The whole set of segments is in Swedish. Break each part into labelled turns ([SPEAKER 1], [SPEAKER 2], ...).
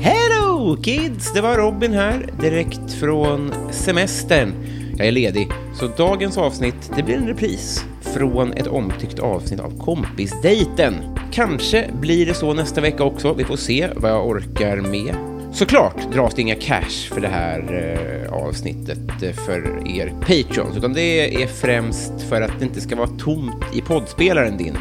[SPEAKER 1] Hello kids! Det var Robin här, direkt från semestern. Jag är ledig, så dagens avsnitt det blir en repris från ett omtyckt avsnitt av Kompisdejten. Kanske blir det så nästa vecka också, vi får se vad jag orkar med. Såklart dras det inga cash för det här eh, avsnittet eh, för er patrons, utan det är främst för att det inte ska vara tomt i poddspelaren din.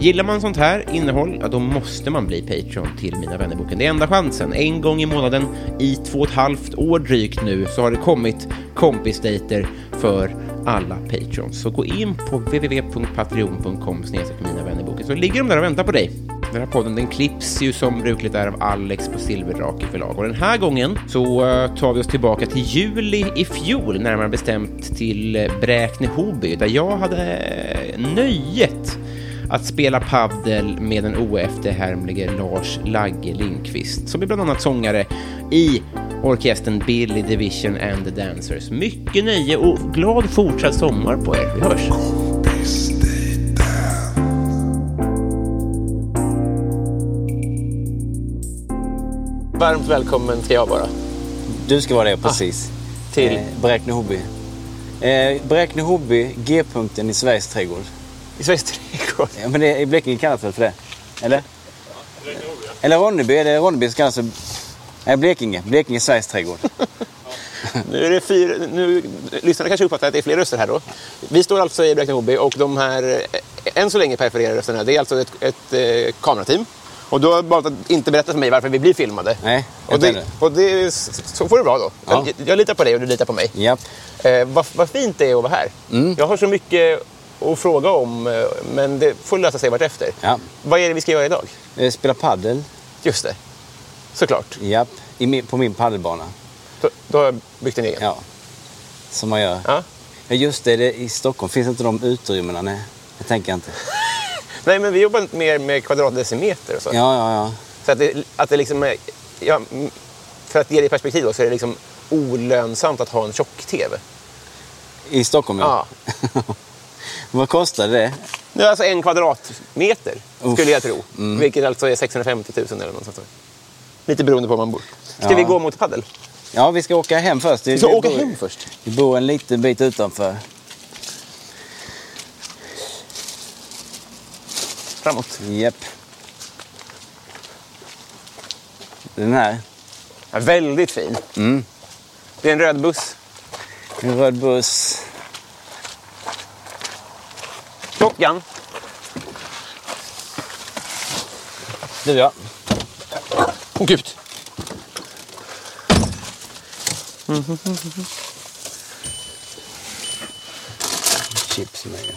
[SPEAKER 1] Gillar man sånt här innehåll, ja, då måste man bli Patreon till Mina vännerboken. Det är enda chansen. En gång i månaden i två och ett halvt år drygt nu så har det kommit kompisdejter för alla Patreons. Så gå in på www.patreon.com Mina vännerboken så ligger de där och väntar på dig. Den här podden den klipps ju som brukligt är av Alex på Silverdrake förlag och den här gången så eh, tar vi oss tillbaka till juli i fjol, närmare bestämt till eh, Bräkne-Hoby där jag hade eh, nöjet att spela paddel med den oefterhärmlige Lars Lagge Lindqvist som är bland annat sångare i orkestern Billy Division and the Dancers. Mycket nöje och glad fortsatt sommar på er. Vi hörs!
[SPEAKER 2] Varmt välkommen ska jag vara
[SPEAKER 3] Du ska vara det, precis.
[SPEAKER 2] Ah, till-
[SPEAKER 3] Eh, Bräkne Hobby. Eh, Bräkne Hobby, G-punkten i Sveriges trädgård.
[SPEAKER 2] i Sveriges trädgård.
[SPEAKER 3] Ja, men det, I Blekinge kallas väl för det? Eller? Eller Ronneby, är det Ronneby som kallas för... Nej, Blekinge. Blekinge, Sveriges trädgård.
[SPEAKER 2] Nu är det fyra, nu, lyssnarna kanske uppfattar att det är fler röster här då. Vi står alltså i Bräkne-Hoby och de här, eh, än så länge periferera rösterna, det är alltså ett, ett eh, kamerateam. Och du har valt att inte berätta för mig varför vi blir filmade.
[SPEAKER 3] Nej,
[SPEAKER 2] och
[SPEAKER 3] inte
[SPEAKER 2] det,
[SPEAKER 3] ännu.
[SPEAKER 2] och det, så får det vara då.
[SPEAKER 3] Ja.
[SPEAKER 2] Jag, jag litar på dig och du litar på mig.
[SPEAKER 3] Japp.
[SPEAKER 2] Eh, vad, vad fint det är att vara här.
[SPEAKER 3] Mm.
[SPEAKER 2] Jag har så mycket att fråga om, eh, men det får lösa sig vartefter.
[SPEAKER 3] Ja.
[SPEAKER 2] Vad är det vi ska göra idag?
[SPEAKER 3] Eh, Spela paddel.
[SPEAKER 2] Just det. Såklart.
[SPEAKER 3] Japp. I min, på min paddelbana.
[SPEAKER 2] Då, då har jag byggt en egen.
[SPEAKER 3] Ja. Som man gör.
[SPEAKER 2] Ja.
[SPEAKER 3] Ja, just det, det. I Stockholm finns inte de utrymmena. Nej, jag tänker inte.
[SPEAKER 2] Nej, men vi jobbar mer med kvadratdecimeter och så.
[SPEAKER 3] Ja, ja, ja.
[SPEAKER 2] Så att det, att det liksom är, ja, m- för att ge det i perspektiv då, så är det liksom olönsamt att ha en tjock-tv.
[SPEAKER 3] I Stockholm, ja.
[SPEAKER 2] Ja.
[SPEAKER 3] Vad kostade det?
[SPEAKER 2] Nu är alltså en kvadratmeter,
[SPEAKER 3] Uff.
[SPEAKER 2] skulle jag tro. Vilket alltså är 650 000 eller något sånt. där. Lite beroende på var man bor. Ska
[SPEAKER 3] Ja.
[SPEAKER 2] vi gå mot paddel?
[SPEAKER 3] Ja, vi ska åka hem först.
[SPEAKER 2] Vi ska åka
[SPEAKER 3] bor-
[SPEAKER 2] hem först.
[SPEAKER 3] Vi bor en liten bit utanför.
[SPEAKER 2] Framåt.
[SPEAKER 3] Japp. Den här.
[SPEAKER 2] Ja, väldigt fin. Det är en röd buss.
[SPEAKER 3] En röd buss.
[SPEAKER 2] Top Gun.
[SPEAKER 3] Du ja.
[SPEAKER 2] Åh gud.
[SPEAKER 3] Chips med.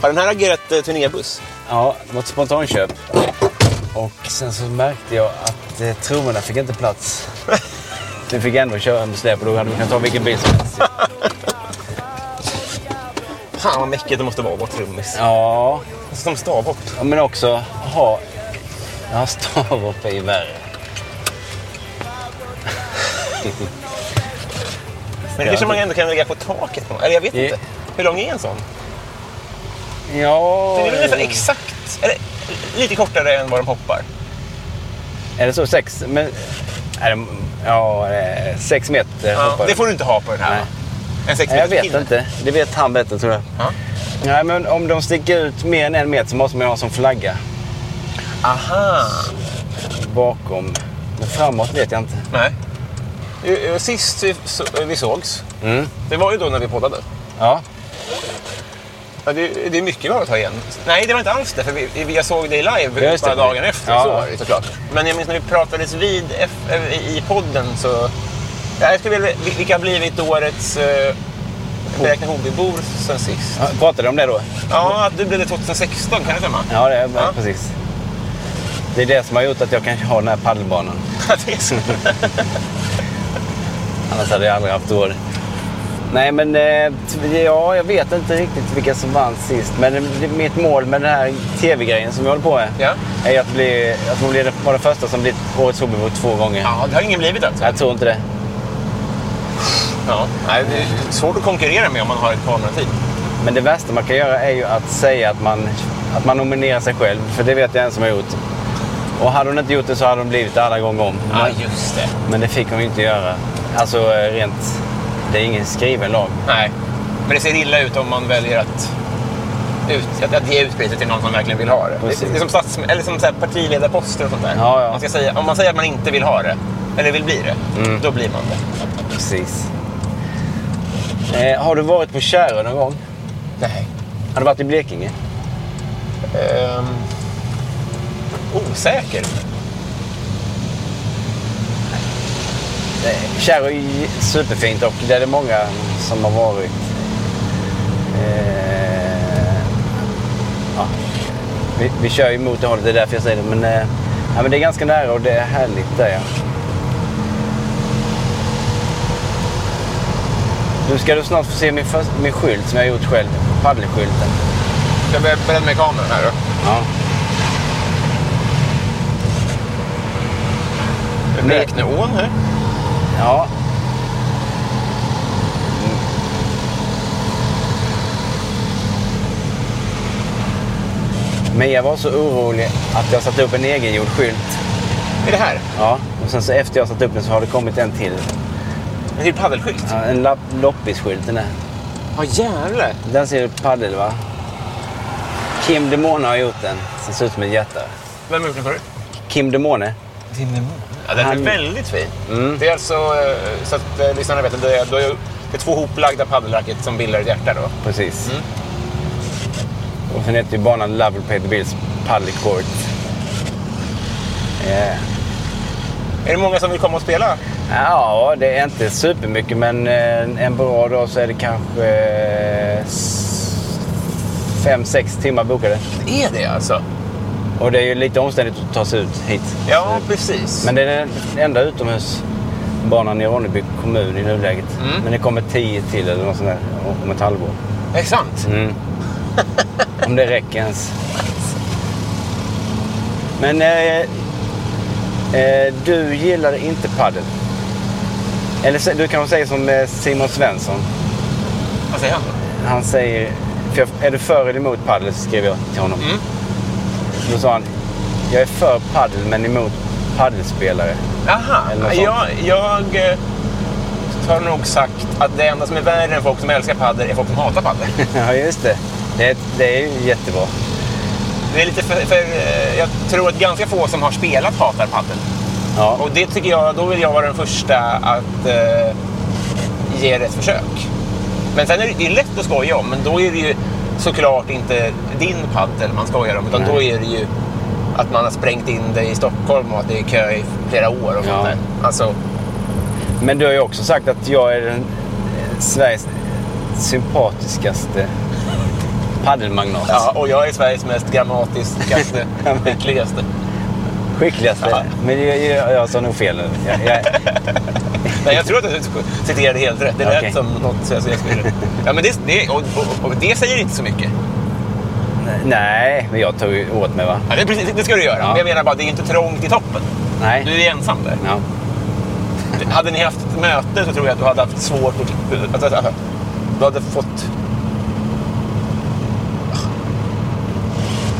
[SPEAKER 2] Har den här agerat eh, turnébuss? eh,
[SPEAKER 3] Ja, det var ett spontanköp. Och sen så märkte jag att eh, trummorna fick inte plats. Vi fick ändå köra med släp och då hade vi kunnat ta vilken bil som helst.
[SPEAKER 2] Fan vad mäckigt det måste vara att vara trummis.
[SPEAKER 3] Ja,
[SPEAKER 2] Som stavhopp.
[SPEAKER 3] Ja, men också ha... Ja, stavhopp är ju värre.
[SPEAKER 2] Men det kanske man ändå kan lägga på taket. någon- Eller jag vet
[SPEAKER 3] Ja.
[SPEAKER 2] inte. Hur lång är en sån?
[SPEAKER 3] Ja...
[SPEAKER 2] Den är väl nästan
[SPEAKER 3] eh,
[SPEAKER 2] exakt, eller lite kortare än vad de hoppar.
[SPEAKER 3] Är det så? Sex? Men, är det, ja, eh, sex meter
[SPEAKER 2] Ja,
[SPEAKER 3] hoppar
[SPEAKER 2] det får du inte ha på den här.
[SPEAKER 3] Nej.
[SPEAKER 2] va? En sex
[SPEAKER 3] Nej, Jag
[SPEAKER 2] meter
[SPEAKER 3] vet
[SPEAKER 2] pinne.
[SPEAKER 3] inte. Det vet han bättre tror jag.
[SPEAKER 2] Ja.
[SPEAKER 3] Nej, men om de sticker ut mer än en meter så måste man ju ha som flagga
[SPEAKER 2] Aha.
[SPEAKER 3] bakom. Men framåt vet jag inte.
[SPEAKER 2] Nej. Ju- ju, Sist vi, så- eh, vi sågs,
[SPEAKER 3] Mm.
[SPEAKER 2] det var ju då när vi poddade.
[SPEAKER 3] Ja.
[SPEAKER 2] Ja, det, det är mycket vi har att ta igen. Nej, det var inte alls det. För vi, vi- jag såg dig live
[SPEAKER 3] Ja, just
[SPEAKER 2] bara
[SPEAKER 3] det.
[SPEAKER 2] dagen efter.
[SPEAKER 3] Ja.
[SPEAKER 2] Så var det ju såklart. Men jag minns när vi pratades vid eff- eh, i podden så... Ja, jag skulle vilja, vil- vilka har blivit årets eh, Beräkna Hobbybor sen sist?
[SPEAKER 3] Ja, Pratade du om det då?
[SPEAKER 2] Ja, att du blev det 2016 kan det stämma?
[SPEAKER 3] Ja, det är,
[SPEAKER 2] Ja.
[SPEAKER 3] precis. Det är det som har gjort att jag kan ha den här paddelbanan.
[SPEAKER 2] det är så.
[SPEAKER 3] Annars hade jag aldrig haft råd. Nej, men eh, t- ja, jag vet inte riktigt vilka som vann sist. Men det- mitt mål med den här tv-grejen som jag håller på med
[SPEAKER 2] Ja.
[SPEAKER 3] är att, bli, att man blir den- vara den första som blivit Årets Hobbybo två gånger.
[SPEAKER 2] Ja, det har ingen blivit alltså.
[SPEAKER 3] Jag tror inte det.
[SPEAKER 2] Ja. Nej, det är svårt att konkurrera med om man har ett kamerateam.
[SPEAKER 3] Men det värsta man kan göra är ju att säga att man, att man nominerar sig själv. För det vet jag en som har gjort. Och hade hon inte gjort det så hade hon blivit det alla gånger om.
[SPEAKER 2] Ja, just det.
[SPEAKER 3] Men det fick hon ju inte göra. Alltså eh, rent... Det är ingen skriven lag.
[SPEAKER 2] Nej, men det ser illa ut om man väljer att, ut, att, att ge ut priset till någon som verkligen vill ha det. Det,
[SPEAKER 3] Precis.
[SPEAKER 2] det är som, stats, eller som så här partiledarposter och sånt där.
[SPEAKER 3] Ja, ja.
[SPEAKER 2] Man ska säga, om man säger att man inte vill ha det, eller vill bli det, då blir man det.
[SPEAKER 3] Precis. Eh, har du varit på Kärö någon gång?
[SPEAKER 2] Nej.
[SPEAKER 3] Har du varit i Blekinge?
[SPEAKER 2] Ehm, osäker.
[SPEAKER 3] Nej. Kärö är ju superfint och det är det många som har varit. Eh, ja. vi, vi kör ju mot det hållet, det är därför jag säger det. Men, eh, ja, men det är ganska nära och det är härligt där ja. Nu ska du snart få se min, först, min skylt som jag har gjort själv. Paddelskylten.
[SPEAKER 2] Ska jag börja börja med kameran här då?
[SPEAKER 3] Ja. Nej.
[SPEAKER 2] Räkneån här.
[SPEAKER 3] Ja. Mm. Men jag var så orolig att jag satte upp en egengjord skylt.
[SPEAKER 2] Är det här?
[SPEAKER 3] Ja, och sen så efter jag satt upp den så har det kommit en till.
[SPEAKER 2] En till paddelskylt?
[SPEAKER 3] Ja, En lapp, loppisskylt den där.
[SPEAKER 2] Ja, jävlar.
[SPEAKER 3] Där ser du paddel va? Kim Demone har gjort den. Den ser ut som ett hjärta.
[SPEAKER 2] Vem har gjort den förut?
[SPEAKER 3] Kim Demone?
[SPEAKER 2] Ja, den
[SPEAKER 3] Han-
[SPEAKER 2] är väldigt fin. Det är alltså, eh, så att eh, lyssnarna vet, att det är, det är det är två hoplagda paddelracket som bildar ett hjärta då.
[SPEAKER 3] Precis. Och sen heter ju banan Lovell Peter Bills Paddle Court. Eh,
[SPEAKER 2] Är det många som vill komma och spela?
[SPEAKER 3] Ja, det är inte supermycket men eh, en bra dag så är det kanske eh, s- fem sex timmar bokade.
[SPEAKER 2] Det är det alltså?
[SPEAKER 3] Och det är ju lite omständigt att ta sig ut hit.
[SPEAKER 2] Ja, precis.
[SPEAKER 3] Men det är den enda utomhusbanan i Ronneby kommun i nuläget. Men det kommer tio till eller något sånt där om ett halvår.
[SPEAKER 2] Är det sant?
[SPEAKER 3] Om det räcker ens. Men eh, eh, du gillar inte padel. Eller så- du kanske säger som eh, Simon Svensson.
[SPEAKER 2] Vad säger han då?
[SPEAKER 3] Han säger, för jag, är du för eller emot padel? Så skrev jag till honom.
[SPEAKER 2] Mm.
[SPEAKER 3] Då sa han, jag är för padel men emot padelspelare. Eller
[SPEAKER 2] Aha,
[SPEAKER 3] något
[SPEAKER 2] jag, jag eh, har nog sagt att det enda som är värre än folk som älskar paddel är folk som hatar paddel.
[SPEAKER 3] ja, just det. Det, är- det är ju jättebra.
[SPEAKER 2] Det är lite för, för, eh, jag tror att ganska få som har spelat hatar paddel.
[SPEAKER 3] Ja,
[SPEAKER 2] Och det tycker jag, då vill jag vara den första att eh, ge det ett försök. Men sen är det, det är lätt att skoja om, men då är det ju såklart inte din paddel man skojar om, utan
[SPEAKER 3] Nej.
[SPEAKER 2] då är det ju att man har sprängt in dig i Stockholm och att det är kö i flera år och
[SPEAKER 3] Ja.
[SPEAKER 2] sånt där. Alltså,
[SPEAKER 3] men du har ju också sagt att jag är den eh, Sveriges sympatiskaste padelmagnat.
[SPEAKER 2] ja, och jag är Sveriges mest grammatiskaste, skickligaste.
[SPEAKER 3] Skickligaste.
[SPEAKER 2] Ja.
[SPEAKER 3] Men jag, jag, jag sa nog fel nu. Jag, jag,
[SPEAKER 2] Nej, jag tror att du citerade helt rätt. Det lät
[SPEAKER 3] Okej.
[SPEAKER 2] som något så jag så jag skulle... Ja, men det, det, och, och, och det säger inte så mycket.
[SPEAKER 3] nej, men jag tog ju åt mig va?
[SPEAKER 2] Ja, det, är precis, det ska du göra.
[SPEAKER 3] Ja.
[SPEAKER 2] Men jag menar bara, det är inte trångt i toppen. Du
[SPEAKER 3] Nej.
[SPEAKER 2] är ensam där.
[SPEAKER 3] Ja.
[SPEAKER 2] Hade ni haft ett möte så tror jag att du hade haft svårt att... att, att, att du hade fått...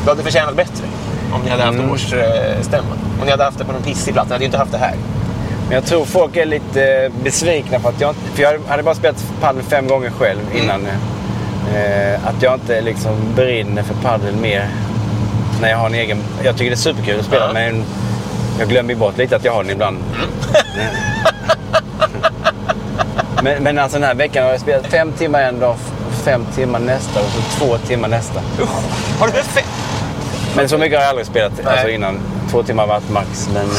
[SPEAKER 2] Du hade förtjänat bättre om ni hade haft
[SPEAKER 3] Mm.
[SPEAKER 2] årsstämma. Om ni hade haft det på någon pissig plats. Ni hade ju inte haft det här.
[SPEAKER 3] Men jag tror folk är lite eh, besvikna för att jag inte- För jag hade bara spelat padel fem gånger själv
[SPEAKER 2] Mm.
[SPEAKER 3] innan. Eh, att jag inte liksom brinner för padel mer. När jag har en egen... Jag tycker det är superkul att spela
[SPEAKER 2] Ja.
[SPEAKER 3] men jag glömmer ju bort lite att jag har den ibland.
[SPEAKER 2] Mm.
[SPEAKER 3] men, men alltså den här veckan har jag spelat fem timmar en dag, f- fem timmar nästa och så två timmar nästa.
[SPEAKER 2] Usch! Har du spelat fe-
[SPEAKER 3] Men så mycket har jag aldrig spelat alltså
[SPEAKER 2] Nej.
[SPEAKER 3] innan. Två timmar vart max. Men, eh,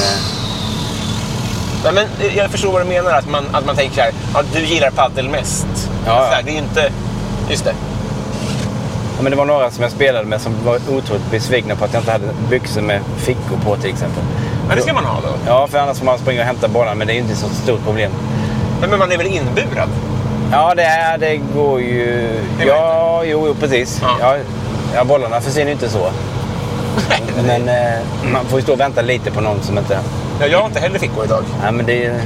[SPEAKER 2] Nej, men eh, jag förstår vad du menar, att man, att man tänker så här, ja, du gillar padel mest.
[SPEAKER 3] Ja,
[SPEAKER 2] Så här,
[SPEAKER 3] ja.
[SPEAKER 2] det är ju inte... Just det.
[SPEAKER 3] Ja, men det var några som jag spelade med som var otroligt besvikna på att jag inte hade byxor med fickor på till exempel.
[SPEAKER 2] Men det ska man ha då.
[SPEAKER 3] Ja, för annars får man springa och hämta bollen, men det är ju inte så stort problem.
[SPEAKER 2] Nej, Men man är väl inburad?
[SPEAKER 3] Ja, det, är, det går ju...
[SPEAKER 2] Det går
[SPEAKER 3] ja, jo, jo, precis.
[SPEAKER 2] Ja.
[SPEAKER 3] Ja. Ja, bollarna försvinner ju inte så. Men eh, man får ju stå och vänta lite på någon som inte...
[SPEAKER 2] Ja, jag har inte heller fickor idag.
[SPEAKER 3] Nej, men det är,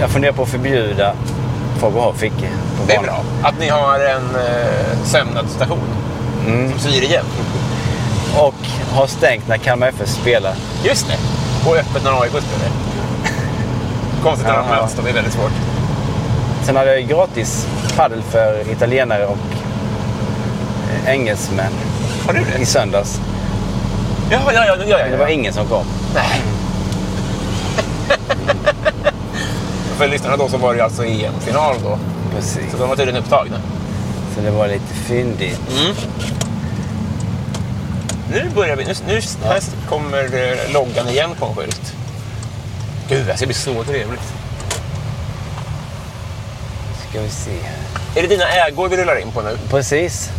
[SPEAKER 3] Jag funderar på att förbjuda folk att ha fickor på
[SPEAKER 2] Det är
[SPEAKER 3] banan.
[SPEAKER 2] bra. Att ni har en eh, sömnadsstation
[SPEAKER 3] Mm.
[SPEAKER 2] som syr igen.
[SPEAKER 3] Och ha stängt när Kalmar FF spelar.
[SPEAKER 2] Just det. Och öppet när AIK spelar. Konstigt när de
[SPEAKER 3] Ja.
[SPEAKER 2] möts, de är väldigt svårt.
[SPEAKER 3] Sen hade jag ju gratis paddel för italienare och eh, engelsmän
[SPEAKER 2] Har du
[SPEAKER 3] i
[SPEAKER 2] det?
[SPEAKER 3] söndags.
[SPEAKER 2] Ja, ja, ja. ja, ja,
[SPEAKER 3] Men det var
[SPEAKER 2] ja.
[SPEAKER 3] ingen som kom.
[SPEAKER 2] Nej. För lyssnarna då så var det ju alltså EM-final då.
[SPEAKER 3] Precis.
[SPEAKER 2] Så de var tydligen upptagna.
[SPEAKER 3] Så det var lite fyndigt.
[SPEAKER 2] Nu börjar vi. Nu, nu här kommer eh, loggan igen på en skylt. Gud, alltså, det här ska bli så trevligt.
[SPEAKER 3] Ska vi se här.
[SPEAKER 2] Är det dina ägor vi rullar in på nu?
[SPEAKER 3] Precis.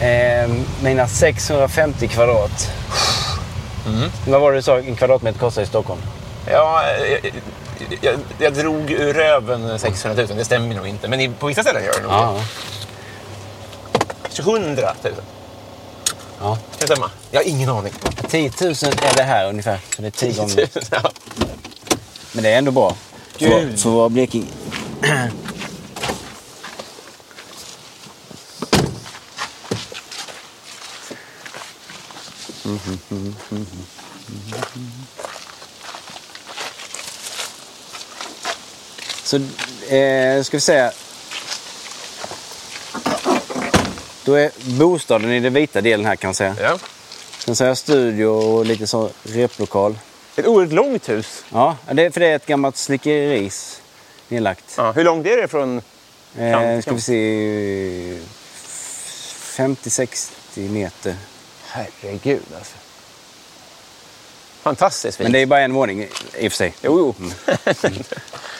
[SPEAKER 3] Eh, mina 650 kvadrat. Vad var det du sa en kvadratmeter kostar i Stockholm?
[SPEAKER 2] Ja, eh, jag, jag, jag drog ur röven 600 000. Det stämmer nog inte. Men i- på vissa ställen gör det nog
[SPEAKER 3] Ja.
[SPEAKER 2] 100 000.
[SPEAKER 3] ja.
[SPEAKER 2] Kan det stämma? Jag har ingen aning.
[SPEAKER 3] 10 000 är det här ungefär. Så det är 10 gånger.
[SPEAKER 2] Ja.
[SPEAKER 3] Men det är ändå bra. För,
[SPEAKER 2] Gud.
[SPEAKER 3] för att vara Blekinge. Så eh, ska vi säga. Då är bostaden i den vita delen här kan man säga.
[SPEAKER 2] Ja.
[SPEAKER 3] Sen så har jag studio och lite så replokal.
[SPEAKER 2] Ett oerhört långt hus.
[SPEAKER 3] Ja, det, för det är ett gammalt slickeris nedlagt.
[SPEAKER 2] Ja, hur långt är det från...
[SPEAKER 3] eh, ska
[SPEAKER 2] kan-
[SPEAKER 3] vi se... 50-60 meter.
[SPEAKER 2] Herregud alltså. Fantastiskt fint.
[SPEAKER 3] Men det är bara en våning i i och för sig. Mm.
[SPEAKER 2] Jo, jo.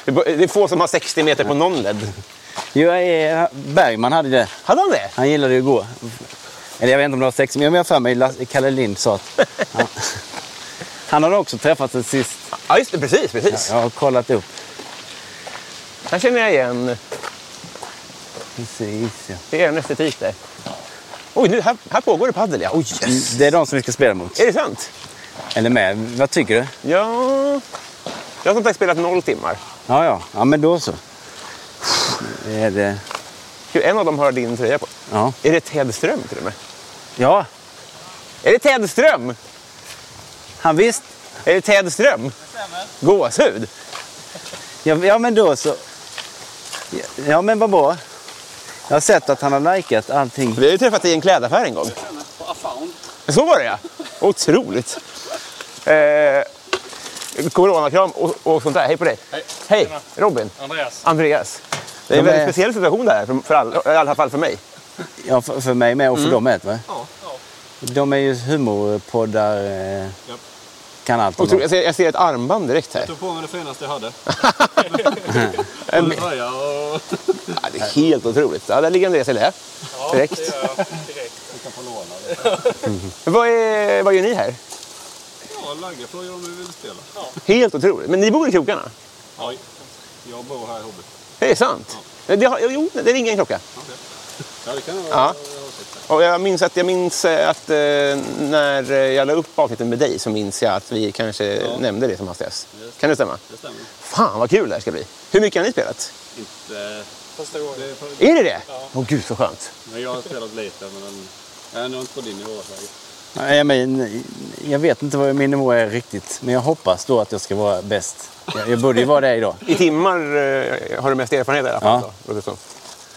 [SPEAKER 2] Det är bara- det är få som har 60 meter på någon led.
[SPEAKER 3] Jag är, eh, Bergman hade det.
[SPEAKER 2] Hade han det?
[SPEAKER 3] Han gillade ju att gå. Eller jag vet inte om det var 60 meter, men jag har för mig Lasse- Kalle Lind sa att... Ja. Han hade också träffat sen sist.
[SPEAKER 2] Ja, just det. Precis, precis.
[SPEAKER 3] Jag har kollat upp.
[SPEAKER 2] Här känner jag igen.
[SPEAKER 3] Precis, ja.
[SPEAKER 2] Det är en estetik där. Oj, nu, här, här pågår det padel ja. Oj, yes.
[SPEAKER 3] Det är de som vi ska spela mot.
[SPEAKER 2] Är Mm, det sant?
[SPEAKER 3] Eller med. Vad tycker du?
[SPEAKER 2] Ja... Jag har som sagt spelat noll timmar.
[SPEAKER 3] Ja, ja. Ja, men då så. Det är det...
[SPEAKER 2] Gud, en av dem har din tröja på.
[SPEAKER 3] Ja.
[SPEAKER 2] Är det Ted Ström till och med?
[SPEAKER 3] Ja,
[SPEAKER 2] Är det Ted Ström?
[SPEAKER 3] han visst.
[SPEAKER 2] Är det Ted Ström? Gåshud?
[SPEAKER 3] Ja, ja men då så. Ja men vad bra. Jag har sett att han har likat allting.
[SPEAKER 2] Vi har ju träffat dig i en klädaffär en gång. Så var det ja. Otroligt. Eh, coronakram och, och sånt där. Hej på dig. Hej. Robin.
[SPEAKER 4] Andreas.
[SPEAKER 2] Andreas. Det är en
[SPEAKER 3] De är-
[SPEAKER 2] väldigt speciell situation det här, för, för all, i alla fall för mig.
[SPEAKER 3] Ja, för, för mig med och för
[SPEAKER 2] Mm.
[SPEAKER 3] dem med. Va?
[SPEAKER 4] Ja, ja.
[SPEAKER 3] De är ju humorpoddar. Eh,
[SPEAKER 4] Japp.
[SPEAKER 3] Kan allt om
[SPEAKER 2] Otroligt.
[SPEAKER 3] dem.
[SPEAKER 2] Jag, ser, jag ser ett armband direkt här.
[SPEAKER 4] Tog på mig det finaste jag hade.
[SPEAKER 2] En,
[SPEAKER 4] Full tröja och...
[SPEAKER 2] ja, det är helt otroligt. Ja, där ligger Andreas i lä. Direkt.
[SPEAKER 4] Ja, direkt. Du kan få låna det.
[SPEAKER 2] Vad, är, vad gör ni här?
[SPEAKER 4] har laggeflöjor om du vill spela. Ja.
[SPEAKER 2] Helt otroligt. Men ni bor i krokarna?
[SPEAKER 4] Jag bor här i Hobby.
[SPEAKER 2] Det är sant? Det har, jo, det ringer en klocka.
[SPEAKER 4] Ja, det kan jag
[SPEAKER 2] Ja. Och jag minns att, jag minns eh, att eh, när jag la upp avsnitten med dig så minns jag att vi kanske nämnde det som hastigast. Kan det stämma?
[SPEAKER 4] Det stämmer.
[SPEAKER 2] Fan vad kul det här ska bli. Hur mycket har ni spelat?
[SPEAKER 4] Inte... Första gången. Det är för...
[SPEAKER 2] Är det det? Åh gud så skönt.
[SPEAKER 4] Men jag har spelat lite, men den... jag är nog inte på din nivå. säkert.
[SPEAKER 3] Nej, men, jag vet inte vad min nivå är riktigt, men jag hoppas då att jag ska vara bäst. Jag, jag borde ju vara det idag.
[SPEAKER 2] I timmar eh, har du mest erfarenhet i alla fall?
[SPEAKER 3] Ja.
[SPEAKER 2] Då, låter det som.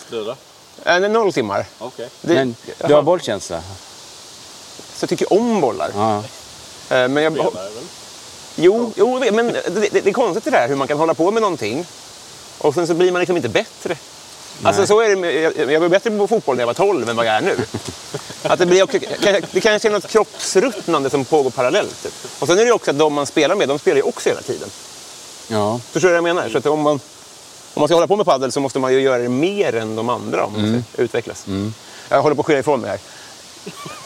[SPEAKER 4] Du då?
[SPEAKER 2] Eh, nej, noll timmar.
[SPEAKER 4] Okej.
[SPEAKER 2] Det,
[SPEAKER 3] Men du har
[SPEAKER 2] jag,
[SPEAKER 3] bollkänsla?
[SPEAKER 2] så jag tycker om bollar.
[SPEAKER 3] Ja.
[SPEAKER 2] Eh, men jag,
[SPEAKER 4] Spelar jag väl?
[SPEAKER 2] jo, jo, jag vet, men det, det, det är konstigt det där hur man kan hålla på med någonting och sen så blir man liksom inte bättre. Alltså så är det med, jag, jag var bättre på fotboll när jag var 12 än vad jag är nu. Att det, blir också, det kanske är något kroppsruttnande som pågår parallellt. Typ. Och sen är det ju också att de man spelar med, de spelar ju också hela tiden.
[SPEAKER 3] ja.
[SPEAKER 2] Förstår du vad jag menar? Så att om, man, om man ska hålla på med padel så måste man ju göra det mer än de andra om man ska utvecklas. Jag håller på att skilja ifrån mig här.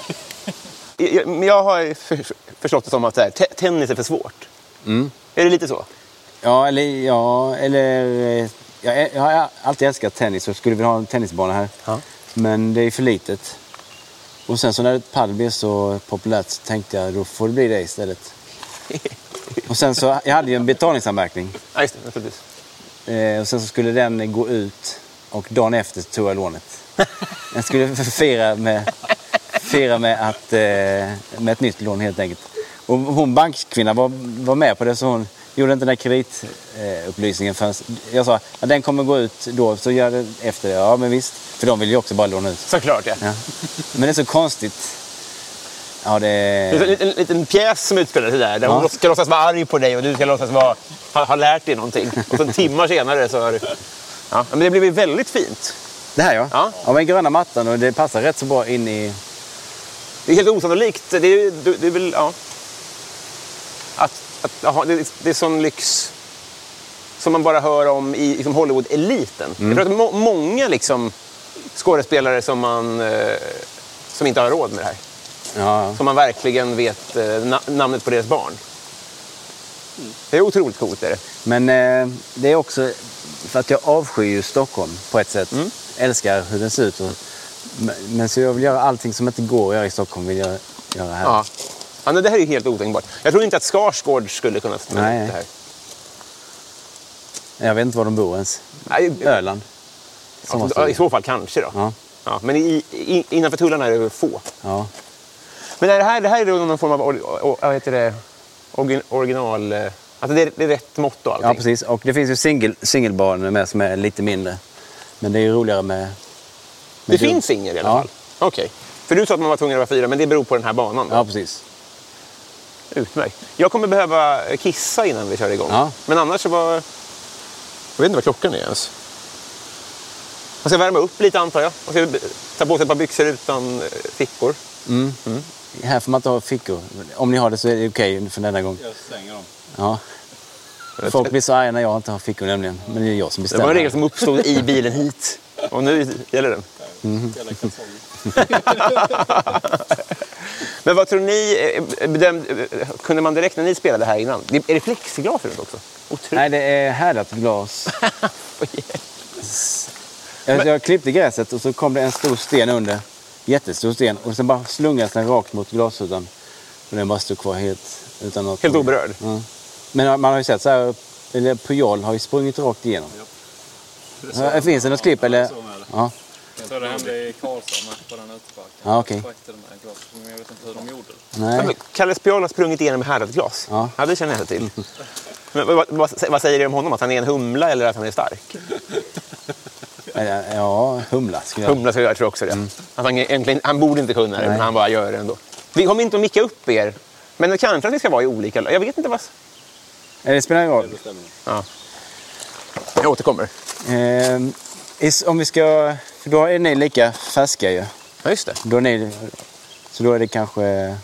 [SPEAKER 2] Jag, men jag har för, förstått det som att så här, te, tennis är för svårt. Är det lite så?
[SPEAKER 3] Ja, eller... Ja, eller eh, jag, ä- jag har alltid älskat tennis och skulle vilja ha en tennisbana här.
[SPEAKER 2] Ja.
[SPEAKER 3] Men det är för litet. Och sen så när padel blev så populärt så tänkte jag då får det bli det istället. Och sen så, jag hade ju en betalningsanmärkning.
[SPEAKER 2] Ja, just det. Naturligtvis.
[SPEAKER 3] Eh, och sen så skulle den gå ut och dagen efter tog jag lånet. Jag skulle fira med, fira med, att, eh, med ett nytt lån helt enkelt. Och hon bankkvinnan var, var med på det så hon gjorde inte den där kreditupplysningen eh, upplysningen förrän jag sa att den kommer gå ut då så gör det efter det. Ja men visst, för de vill ju också bara låna ut.
[SPEAKER 2] Såklart, ja.
[SPEAKER 3] Ja. Men det är så konstigt. Ja det
[SPEAKER 2] Det är En liten, en liten pjäs som utspelar sig där, där hon
[SPEAKER 3] Ja.
[SPEAKER 2] ska låtsas vara arg på dig och du ska låtsas vara, ha, ha lärt dig någonting. Och sen timmar senare så har du... Ja, men det blev ju väldigt fint.
[SPEAKER 3] Det här ja.
[SPEAKER 2] Ja.
[SPEAKER 3] ja men gröna mattan och det passar rätt så bra in i
[SPEAKER 2] Det är helt osannolikt. Det är, det, det är väl, ja. Att, att, aha, det, det är sån lyx som man bara hör om i liksom Hollywood-eliten.
[SPEAKER 3] Mm.
[SPEAKER 2] Jag tror att må, många liksom, skådespelare som, man, eh, som inte har råd med det här,
[SPEAKER 3] ja,
[SPEAKER 2] som man verkligen vet eh, na, namnet på deras barn. Det är otroligt coolt. Är det.
[SPEAKER 3] Men eh, det är också för att jag avskyr ju Stockholm på ett sätt.
[SPEAKER 2] Mm.
[SPEAKER 3] Älskar hur den ser ut. Och, men- men så jag vill göra allting som inte går att göra i Stockholm vill jag göra här.
[SPEAKER 2] Ja. Ja, nej, det här är ju helt otänkbart. Jag tror inte att Skarsgård skulle kunna ställa
[SPEAKER 3] Nej.
[SPEAKER 2] upp det här.
[SPEAKER 3] Jag vet inte var de bor ens.
[SPEAKER 2] Nej,
[SPEAKER 3] Öland.
[SPEAKER 2] ja,
[SPEAKER 3] Så måste
[SPEAKER 2] ja, I
[SPEAKER 3] det-
[SPEAKER 2] så fall kanske då.
[SPEAKER 3] Ja.
[SPEAKER 2] Ja, men i, i, innanför tullarna är det väl få.
[SPEAKER 3] Ja.
[SPEAKER 2] Men är det här, det här är då någon form av or, or, vad heter det? Orgin, original... eh, Alltså det är, det är rätt mått och allting?
[SPEAKER 3] ja, precis. Och det finns ju singel, singelbanor med som är lite mindre. Men det är ju roligare med... med
[SPEAKER 2] Det
[SPEAKER 3] dubbel.
[SPEAKER 2] finns singel i alla
[SPEAKER 3] Ja.
[SPEAKER 2] fall? Okej. För du sa att man var tvungen att vara fyra, men det beror på den här banan? då?
[SPEAKER 3] Ja, precis.
[SPEAKER 2] Utmärkt. Jag kommer behöva kissa innan vi kör igång.
[SPEAKER 3] Ja.
[SPEAKER 2] Men annars så var... Jag vet inte vad klockan är ens. Man ska värma upp lite antar jag. Man ska ta på sig ett par byxor utan eh, fickor.
[SPEAKER 3] Här får man inte ha fickor. Om ni har det så är det okej för denna gång.
[SPEAKER 4] Jag stänger dem.
[SPEAKER 3] Ja. Folk blir så arga när jag inte har fickor nämligen. Men det är jag som
[SPEAKER 2] Det
[SPEAKER 3] bestämmer.
[SPEAKER 2] var en regel som uppstod i bilen hit. Och nu gäller den. Mm.
[SPEAKER 4] Hela kalsongen.
[SPEAKER 2] Men vad tror ni, eh, bedömde, eh, kunde man direkt när ni spelade här innan, det- är det plexiglas runt också? Otroligt.
[SPEAKER 3] Nej, det är härdat glas. Jag, jag klippte gräset och så kom det en stor sten under. Jättestor sten. Och sen bara slungades den rakt mot glasrutan. Och den bara stod kvar helt utan något.
[SPEAKER 2] Helt oberörd.
[SPEAKER 3] Ja. Men man har ju sett så här, eller Pujol har ju sprungit rakt igenom. Ja, finns det något klipp eller?
[SPEAKER 4] så är det.
[SPEAKER 3] Ja,
[SPEAKER 5] Så det hände i Karlshamn här på den här utbacken.
[SPEAKER 3] Ja, okej.
[SPEAKER 5] Jag försökte den här glasen, men jag vet inte hur de gjorde. det.
[SPEAKER 3] nej.
[SPEAKER 2] Kalle Spjol har sprungit igenom härdat glas. Ja.
[SPEAKER 3] Ja.
[SPEAKER 2] det känner jag till. Men vad, vad, vad säger det om honom? Att han är en humla eller att han är stark?
[SPEAKER 3] Eller, Ja, humla skulle jag
[SPEAKER 2] Humla så jag tror också det. Att han, egentligen, han borde inte kunna det,
[SPEAKER 3] Nej.
[SPEAKER 2] men han bara gör det ändå. Vi kommer inte att micka upp er, men kanske att vi ska vara i olika lag. Jag vet inte vad...
[SPEAKER 3] Eh, Det spelar ingen roll.
[SPEAKER 2] Jag återkommer.
[SPEAKER 3] Ehm, is- om vi ska... För då är ni lika färska ju.
[SPEAKER 2] Ja, just det.
[SPEAKER 3] Då är ni, så då är det kanske...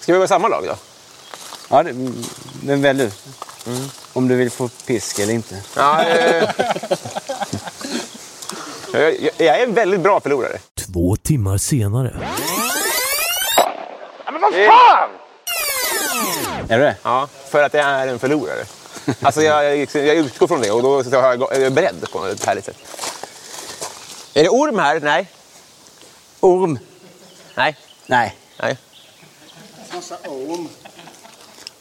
[SPEAKER 2] Ska vi vara i samma lag då?
[SPEAKER 3] Ja, det, men väl du.
[SPEAKER 2] Mm.
[SPEAKER 3] Om du vill få pisk eller inte.
[SPEAKER 2] Ja, eh, jag, jag, jag är en väldigt bra förlorare.
[SPEAKER 6] Två timmar senare.
[SPEAKER 2] Men vad fan!
[SPEAKER 3] Är det det?
[SPEAKER 2] Ja, för att jag är en förlorare. Alltså jag, jag utgår från det och då så har jag, jag är beredd på ett härligt sätt. Är det orm här? Nej.
[SPEAKER 3] Orm?
[SPEAKER 2] Nej.
[SPEAKER 3] Nej.
[SPEAKER 2] Nej.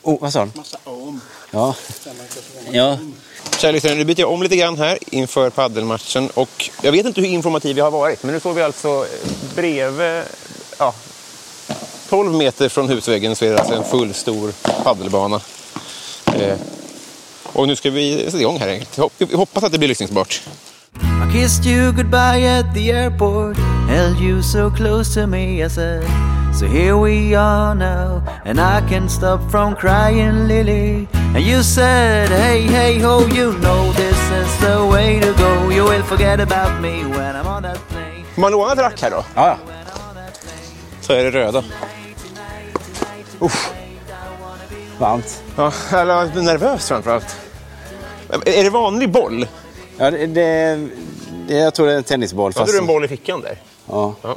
[SPEAKER 3] Oh, vad sa du? Massa orm. Ja. Ja.
[SPEAKER 2] Kära lyssnare, nu byter jag om lite grann här inför paddelmatchen. Och jag vet inte hur informativ jag har varit, men nu står vi alltså bredvid... Ja, 12 meter från husväggen så är det alltså en full stor paddelbana. Eh, och nu ska vi sätta igång här. enkelt. Hopp- Vi hoppas att det blir lyssningsbart.
[SPEAKER 6] I kissed you goodbye at the airport, held you so close to me, I said. So here we are now, and I can't stop from crying, Lily. And you said, hey, hey, ho, you know this is the way to go. You will forget about me when I'm on that plane.
[SPEAKER 2] Får man låna ett rack här då?
[SPEAKER 3] Ja, ja.
[SPEAKER 2] Så är det röda.
[SPEAKER 3] Varmt.
[SPEAKER 2] Ja, jag är nervös framför allt. Är det vanlig boll?
[SPEAKER 3] Ja, det, det, det, jag tror det är en tennisboll.
[SPEAKER 2] Hade du en boll i fickan där?
[SPEAKER 3] Alltså. Ja.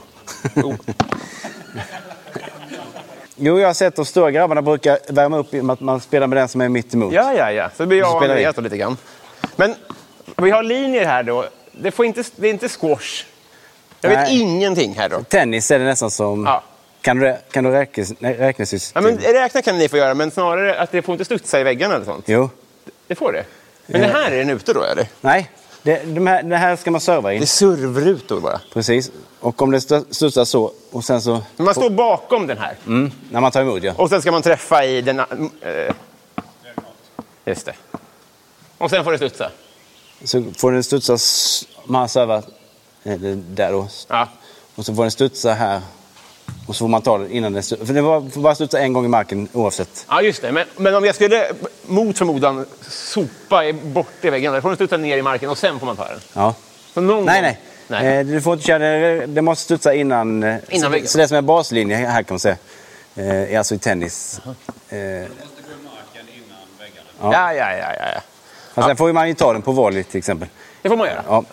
[SPEAKER 2] Ja. Oh.
[SPEAKER 3] Jo, jag har sett de stora grabbarna brukar värma upp med att man spelar med den som är mitt emot.
[SPEAKER 2] Ja, ja, ja. Så blir jag
[SPEAKER 3] Så
[SPEAKER 2] och
[SPEAKER 3] spelar vi.
[SPEAKER 2] Andreas då lite grann. Men vi har linjer här då. Det, får inte, det är inte squash. Jag vet
[SPEAKER 3] Nej.
[SPEAKER 2] ingenting här då.
[SPEAKER 3] Tennis är det nästan som...
[SPEAKER 2] Ja.
[SPEAKER 3] Kan du, rä- kan du räkna, nej, räkna
[SPEAKER 2] Ja,
[SPEAKER 3] system?
[SPEAKER 2] men räkna kan ni få göra, men snarare att det får inte studsa i väggarna eller sånt.
[SPEAKER 3] Jo.
[SPEAKER 2] Det får det. Men det här är den ute då, eller?
[SPEAKER 3] Nej, det, de här, det här ska man serva
[SPEAKER 2] Det är
[SPEAKER 3] in.
[SPEAKER 2] servrutor bara.
[SPEAKER 3] Precis. Och om det stö- studsar så och sen så...
[SPEAKER 2] Men Man står bakom den här
[SPEAKER 3] Mm, när man tar emot ja.
[SPEAKER 2] och sen ska man träffa i den... Eh, just det. Och sen får det studsa.
[SPEAKER 3] Så får den studsa... s- Man har servat eh, det där då.
[SPEAKER 2] Ja.
[SPEAKER 3] Och så får den studsa här. Och så får man ta den innan den studsar. För den var- får bara studsa en gång i marken oavsett.
[SPEAKER 2] Ja, just det. Men, men om jag skulle mot förmodan sopa i- bort i väggen, då får den studsa ner i marken och sen får man ta den.
[SPEAKER 3] Ja.
[SPEAKER 2] Så någon
[SPEAKER 3] Nej,
[SPEAKER 2] gång-
[SPEAKER 3] nej. Eh, du får inte köra den. Den måste studsa innan... eh,
[SPEAKER 2] Innan
[SPEAKER 3] så,
[SPEAKER 2] väggen.
[SPEAKER 3] så det som är baslinje här kan man säga. Eh, är alltså i tennis. Eh,
[SPEAKER 2] Ja, ja, ja, ja. ja.
[SPEAKER 3] fast sen får ju man ju ta den på volley till exempel.
[SPEAKER 2] Det får man göra.
[SPEAKER 3] Ja.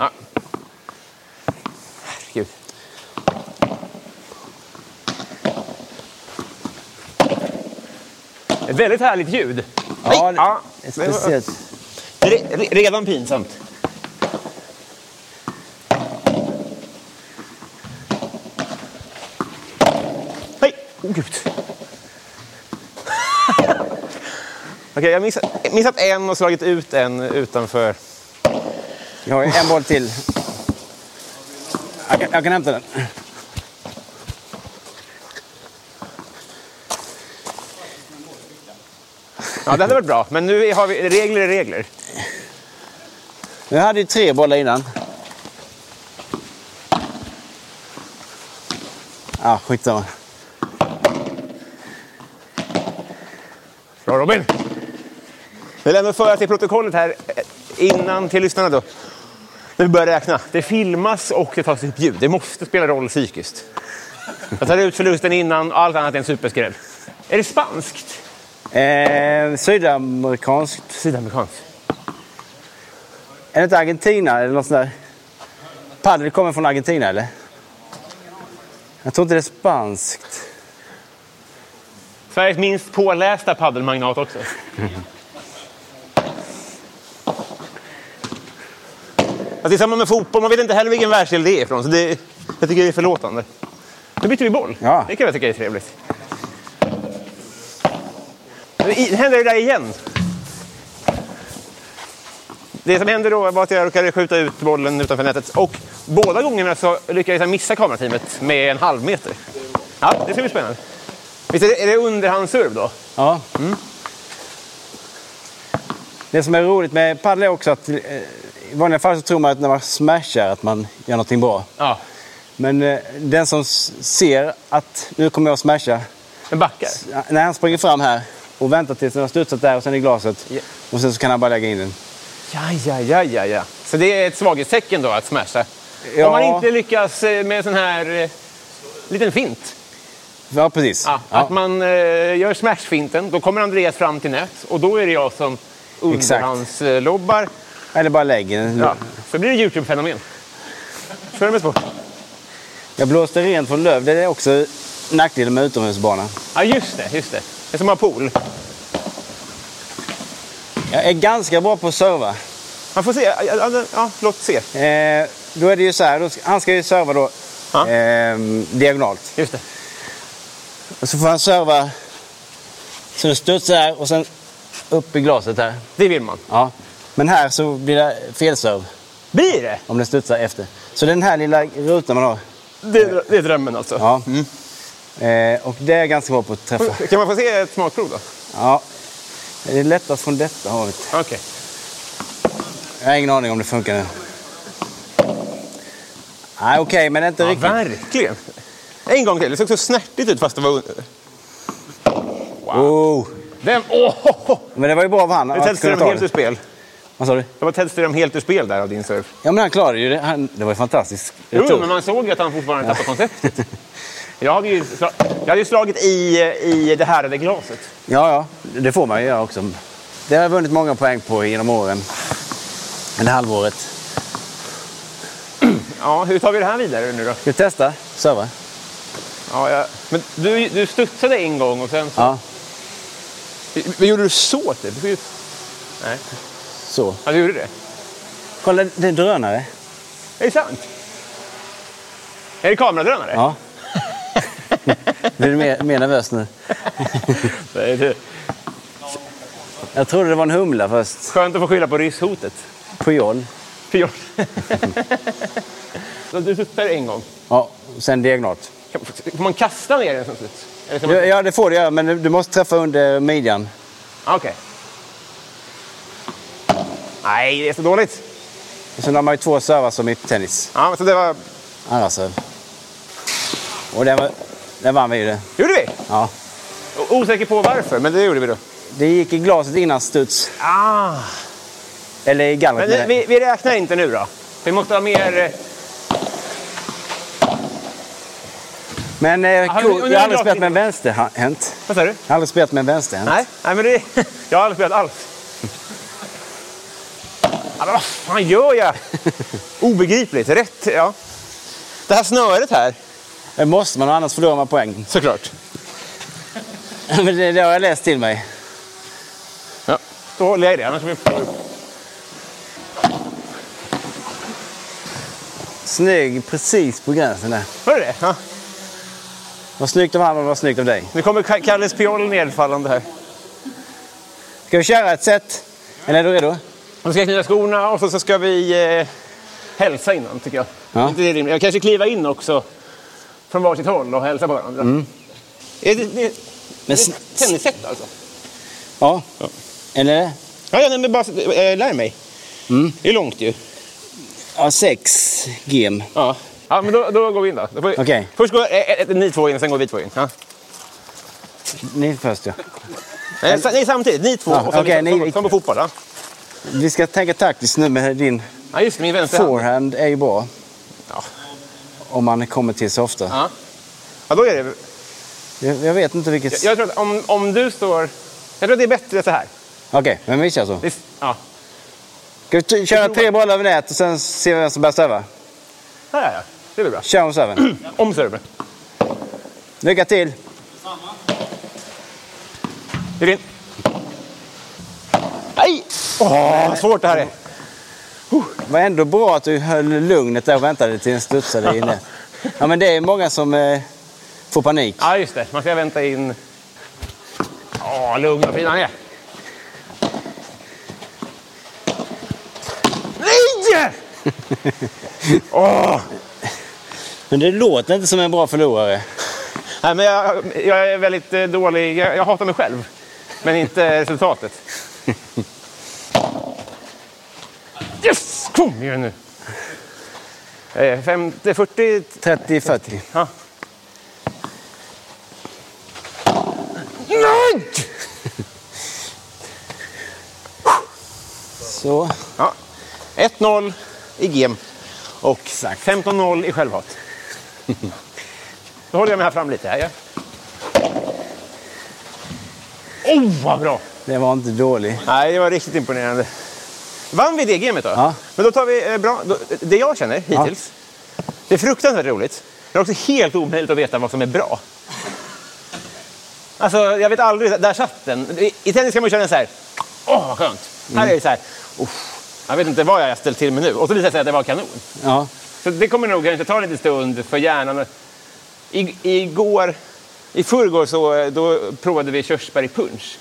[SPEAKER 2] Herregud. Ett väldigt härligt ljud.
[SPEAKER 3] Ja,
[SPEAKER 2] Nej,
[SPEAKER 3] ja.
[SPEAKER 2] det-
[SPEAKER 3] Speciellt.
[SPEAKER 2] Re- re- redan pinsamt. Nej! Åh, gud. Okej, jag har missat, missat en och slagit ut en utanför.
[SPEAKER 3] Jag har ju en boll till. Jag kan, jag kan hämta den.
[SPEAKER 2] Ja, det hade varit bra. Men nu har vi regler är regler.
[SPEAKER 3] Jag hade ju tre bollar innan. Ah, skitsamma.
[SPEAKER 2] Bra Robin! Vi lämnar föra till protokollet här eh, innan till lyssnarna då. När vi börjar räkna. Det filmas och det tas upp ljud. Det måste spela roll psykiskt. Jag tar ut förlusten innan och allt annat är en superskräll. Är det spanskt?
[SPEAKER 3] Eh, sydamerikanskt.
[SPEAKER 2] Sydamerikanskt.
[SPEAKER 3] Är det inte Argentina eller något sånt där? Padel kommer från Argentina eller? Jag tror inte det är spanskt.
[SPEAKER 2] Sveriges minst pålästa paddelmagnat också. Alltså, det är samma med fotboll, man vet inte heller vilken världsdel det är ifrån. Så det, jag tycker det är förlåtande. Nu byter vi boll.
[SPEAKER 3] Ja.
[SPEAKER 2] Det kan jag tycka är trevligt. Men i- Händer det där igen? Det som hände då var att jag råkade skjuta ut bollen utanför nätet och båda gångerna så lyckades jag missa kamerateamet med en halv meter. Ja, det ska bli spännande. Visst är det, är det underhandsserve då?
[SPEAKER 3] Ja. Mm. Det som är roligt med padel är också att eh, i vanliga fall så tror man att när man smashar att man gör någonting bra.
[SPEAKER 2] Ja.
[SPEAKER 3] Men eh, den som s- ser att nu kommer jag att smasha.
[SPEAKER 2] Men backar?
[SPEAKER 3] När han springer fram här och väntar tills den har studsat där och sen i glaset.
[SPEAKER 2] Ja.
[SPEAKER 3] Och sen så kan han bara lägga in den.
[SPEAKER 2] Ja, ja, ja, ja, ja. Så det är ett svaghetstecken då att smasha?
[SPEAKER 3] Ja.
[SPEAKER 2] Om man inte lyckas eh, med en sån här eh, liten fint.
[SPEAKER 3] Ja, precis.
[SPEAKER 2] Ja,
[SPEAKER 3] Ja.
[SPEAKER 2] Att man eh, gör smashfinten, då kommer Andreas fram till nät och då är det jag som
[SPEAKER 3] Exakt.
[SPEAKER 2] underhandslobbar.
[SPEAKER 3] Eller bara lägger den.
[SPEAKER 2] Ja. Så blir det Youtube-fenomen. Kör med sport.
[SPEAKER 3] Jag blåste rent från löv. Det är också nackdelen med utomhusbana.
[SPEAKER 2] Ja, just det, just det. Det är som att ha pool.
[SPEAKER 3] Jag är ganska bra på att serva.
[SPEAKER 2] Man får se. Ja, ja, ja, låt se.
[SPEAKER 3] Eh, då är det ju så här, då ska, han ska ju serva då
[SPEAKER 2] Ja.
[SPEAKER 3] ehm, diagonalt.
[SPEAKER 2] Just det.
[SPEAKER 3] Och så får han serva så det studsar här och sen upp i glaset här.
[SPEAKER 2] Det vill man.
[SPEAKER 3] Ja. Men här så blir det felserv
[SPEAKER 2] Blir det?
[SPEAKER 3] om den studsar efter. Så den här lilla rutan man har.
[SPEAKER 2] Det är, det är drömmen alltså.
[SPEAKER 3] Ja. Mm. Eh, och det är jag ganska bra på att träffa.
[SPEAKER 2] Kan man få se ett smakprov då?
[SPEAKER 3] Ja. Det är lättast från detta hållet.
[SPEAKER 2] Okej.
[SPEAKER 3] Jag har ingen aning om det funkar nu. Nej, okej, men det är inte
[SPEAKER 2] Ja,
[SPEAKER 3] riktigt.
[SPEAKER 2] verkligen. En gång till. Det såg så snärtigt ut fast det var under.
[SPEAKER 3] Oh.
[SPEAKER 2] Den, åh! ho, ho.
[SPEAKER 3] Men det var ju bra av han
[SPEAKER 2] Det var Ted
[SPEAKER 3] att kunna
[SPEAKER 2] Ström
[SPEAKER 3] ta
[SPEAKER 2] helt ur
[SPEAKER 3] det.
[SPEAKER 2] spel.
[SPEAKER 3] Vad sa du?
[SPEAKER 2] Det var Ted Ström helt ur spel där av din surf.
[SPEAKER 3] Ja, men han klarade ju det. Han, det var ju fantastiskt.
[SPEAKER 2] Jo,
[SPEAKER 3] retur.
[SPEAKER 2] men man såg ju att han fortfarande tappade konceptet. Jag hade ju, sla- jag hade ju slagit i, i det här glaset.
[SPEAKER 3] Ja, ja, det får man ju göra också. Det har jag vunnit många poäng på genom åren. Eller halvåret.
[SPEAKER 2] Ja, hur tar vi det här vidare nu då?
[SPEAKER 3] Ska vi testa? Serva?
[SPEAKER 2] Ja, jag, men du, du studsade en gång och sen så...
[SPEAKER 3] Ja,
[SPEAKER 2] Vad gjorde du så typ? Du fick ju-
[SPEAKER 3] så.
[SPEAKER 2] Ja, du gjorde det.
[SPEAKER 3] Kolla, det är en drönare.
[SPEAKER 2] Är det sant? Är det kameradrönare?
[SPEAKER 3] Ja. Blir du mer, mer nervös nu?
[SPEAKER 2] Det är det.
[SPEAKER 3] Jag trodde det var en humla först.
[SPEAKER 2] Skönt att få skylla på rysshotet.
[SPEAKER 3] Pujol.
[SPEAKER 2] Fjol. Så du studsade en gång.
[SPEAKER 3] Ja, och sen diagonalt.
[SPEAKER 2] Kan- Får man kasta ner den som studs? Eller ska man-
[SPEAKER 3] Ja, ja, det får du göra, men du- du måste träffa under midjan.
[SPEAKER 2] Ah, Okej. Nej, det är så dåligt.
[SPEAKER 3] Och sen har man ju två servar som i tennis.
[SPEAKER 2] Ja, men så det var...
[SPEAKER 3] Andra serv. Och den, var, den vann vi ju. det.
[SPEAKER 2] gjorde vi.
[SPEAKER 3] Ja.
[SPEAKER 2] O- Osäker på varför, men det gjorde vi då.
[SPEAKER 3] Det gick i glaset innan studs.
[SPEAKER 2] Ah.
[SPEAKER 3] Eller i gallret.
[SPEAKER 2] Men
[SPEAKER 3] menar
[SPEAKER 2] vi,
[SPEAKER 3] jag.
[SPEAKER 2] vi- vi räknar inte nu då. Vi måste ha mer... eh,
[SPEAKER 3] Men eh,
[SPEAKER 2] Har
[SPEAKER 3] cool.
[SPEAKER 2] du-
[SPEAKER 3] jag har
[SPEAKER 2] undrar-
[SPEAKER 3] aldrig spelat med en vänsterhänt.
[SPEAKER 2] Vad sa du?
[SPEAKER 3] Jag har aldrig spelat med en vänsterhänt.
[SPEAKER 2] Nej, Nej men det, jag har aldrig spelat alls. Ja, men vad fan gör jag? Obegripligt. Rätt, ja. Det här snöret här.
[SPEAKER 3] Det måste man, annars förlorar man poäng.
[SPEAKER 2] Såklart.
[SPEAKER 3] Men det, det har jag läst till mig.
[SPEAKER 2] Ja. Då håller jag i det, annars blir det...
[SPEAKER 3] Snygg, precis på gränsen där.
[SPEAKER 2] Var det det? Ja.
[SPEAKER 3] Vad snyggt av han och vad snyggt av dig.
[SPEAKER 2] Nu kommer Ka- Kalles Piol nedfallande här.
[SPEAKER 3] Ska vi köra ett set? Eller är du redo?
[SPEAKER 2] Nu ska jag knyta skorna och så så ska vi eh, hälsa innan, tycker jag.
[SPEAKER 3] Ja.
[SPEAKER 2] Inte det är rimligt. Jag kanske kliva in också från varsitt håll och hälsa på varandra. Är det, det,
[SPEAKER 3] Men
[SPEAKER 2] det är
[SPEAKER 3] sn-
[SPEAKER 2] ett tennisset alltså?
[SPEAKER 3] Ja. Eller?
[SPEAKER 2] Ja, ja nej, men bara eh, lär mig. Det är långt ju.
[SPEAKER 3] Ja, sex gem.
[SPEAKER 2] Ja, ja men då, då går vi in då. då får vi,
[SPEAKER 3] Okej.
[SPEAKER 2] Först går eh, eh, ni två in, sen går vi två in. Ja.
[SPEAKER 3] Ni först ja.
[SPEAKER 2] Nej, sa- nej, samtidigt. Ni två.
[SPEAKER 3] Ja,
[SPEAKER 2] och sen,
[SPEAKER 3] okej,
[SPEAKER 2] som,
[SPEAKER 3] ni-
[SPEAKER 2] som, som på fotboll. Ja,
[SPEAKER 3] Vi ska tänka taktiskt nu med din
[SPEAKER 2] ja just det. Min vänster hand.
[SPEAKER 3] forehand är ju bra.
[SPEAKER 2] Ja.
[SPEAKER 3] Om man kommer till så ofta.
[SPEAKER 2] Ja. ja, då är det.
[SPEAKER 3] Jag, jag vet inte
[SPEAKER 2] Jag,
[SPEAKER 3] vilket...
[SPEAKER 2] jag tror att om, om du står... Jag tror att det är bättre så här.
[SPEAKER 3] Okej, men vi kör så.
[SPEAKER 2] Det, är- ja.
[SPEAKER 3] Ska vi t- köra tre bollar över nät och sen se vem som bär servar?
[SPEAKER 2] Ja, ja, ja. Det blir bra.
[SPEAKER 3] Kör om serven.
[SPEAKER 2] Om server.
[SPEAKER 3] Lycka till!
[SPEAKER 2] Gick in. Nej! Åh, vad svårt det här är.
[SPEAKER 3] var ändå bra att du höll lugnet där och väntade till den studsade in. där. Ja, men det är många som eh, får panik.
[SPEAKER 2] Ja, just det. Man ska vänta in... Åh, lugn och fin han är. Nej! Åh!
[SPEAKER 3] Men det låter inte som en bra förlorare.
[SPEAKER 2] Nej, men jag, jag är väldigt eh, dålig. Jag, jag hatar mig själv, men inte resultatet. Yes! Kom igen nu! Eh, 50, 40...
[SPEAKER 3] 30-40.
[SPEAKER 2] Ja. Nej!
[SPEAKER 3] Så.
[SPEAKER 2] Ja. 1-0 i gem och 15-0 i självhat. Då håller jag mig här fram lite. Här, ja. Oh, vad bra!
[SPEAKER 3] Det var inte dåligt.
[SPEAKER 2] Nej, det var riktigt imponerande. Vann vi det gamet då?
[SPEAKER 3] Ja.
[SPEAKER 2] Men då tar vi eh, bra. Då, det jag känner hittills, det är fruktansvärt roligt. Men det är också helt omöjligt att veta vad som är bra. Alltså, jag vet aldrig. Där satt den. I, i tennis kan man köra den så här. Åh, vad skönt. Här är det så här, uff, jag vet inte vad jag har ställt till med nu. Och så visar det sig att det var kanon.
[SPEAKER 3] Ja.
[SPEAKER 2] Så det kommer nog kanske ta lite stund för hjärnan. I, igår, I förrgår så då provade vi körsbär i punsch.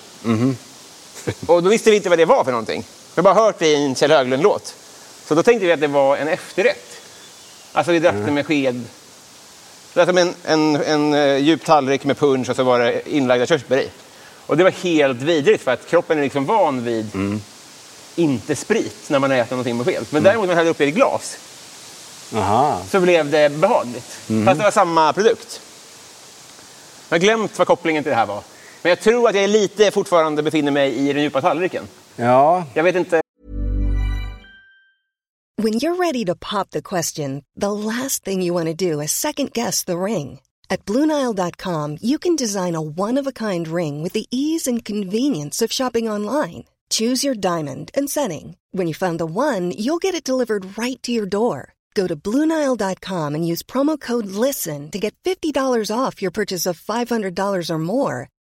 [SPEAKER 2] Och då visste vi inte vad det var för någonting. Vi har bara hört det i en Kjell Höglund-låt. Så då tänkte vi att det var en efterrätt. Alltså vi drack det med sked. Det var som en, en, en eh, djup tallrik med punsch och så var det inlagda körsbär i. Och det var helt vidrigt för att kroppen är liksom van vid inte sprit när man äter någonting med sked. Men däremot när man häller upp det i ett glas
[SPEAKER 3] Aha.
[SPEAKER 2] så blev det behagligt.
[SPEAKER 3] Mhm.
[SPEAKER 2] Fast det var samma produkt. Jag har glömt vad kopplingen till det här var. Men jag tror att jag är lite fortfarande befinner mig i den djupa tallriken.
[SPEAKER 3] Ja.
[SPEAKER 2] Jag vet inte
[SPEAKER 7] When you're ready to pop the question, the last thing you want to do is second guess the ring. At Bluenile.com, you can design a one of a kind ring with the ease and convenience of shopping online. Choose your diamond and setting. When you find the one, you'll get it delivered right to your door. Go to Bluenile.com and use promo code LISTEN to get $50 off your purchase of $500 or more.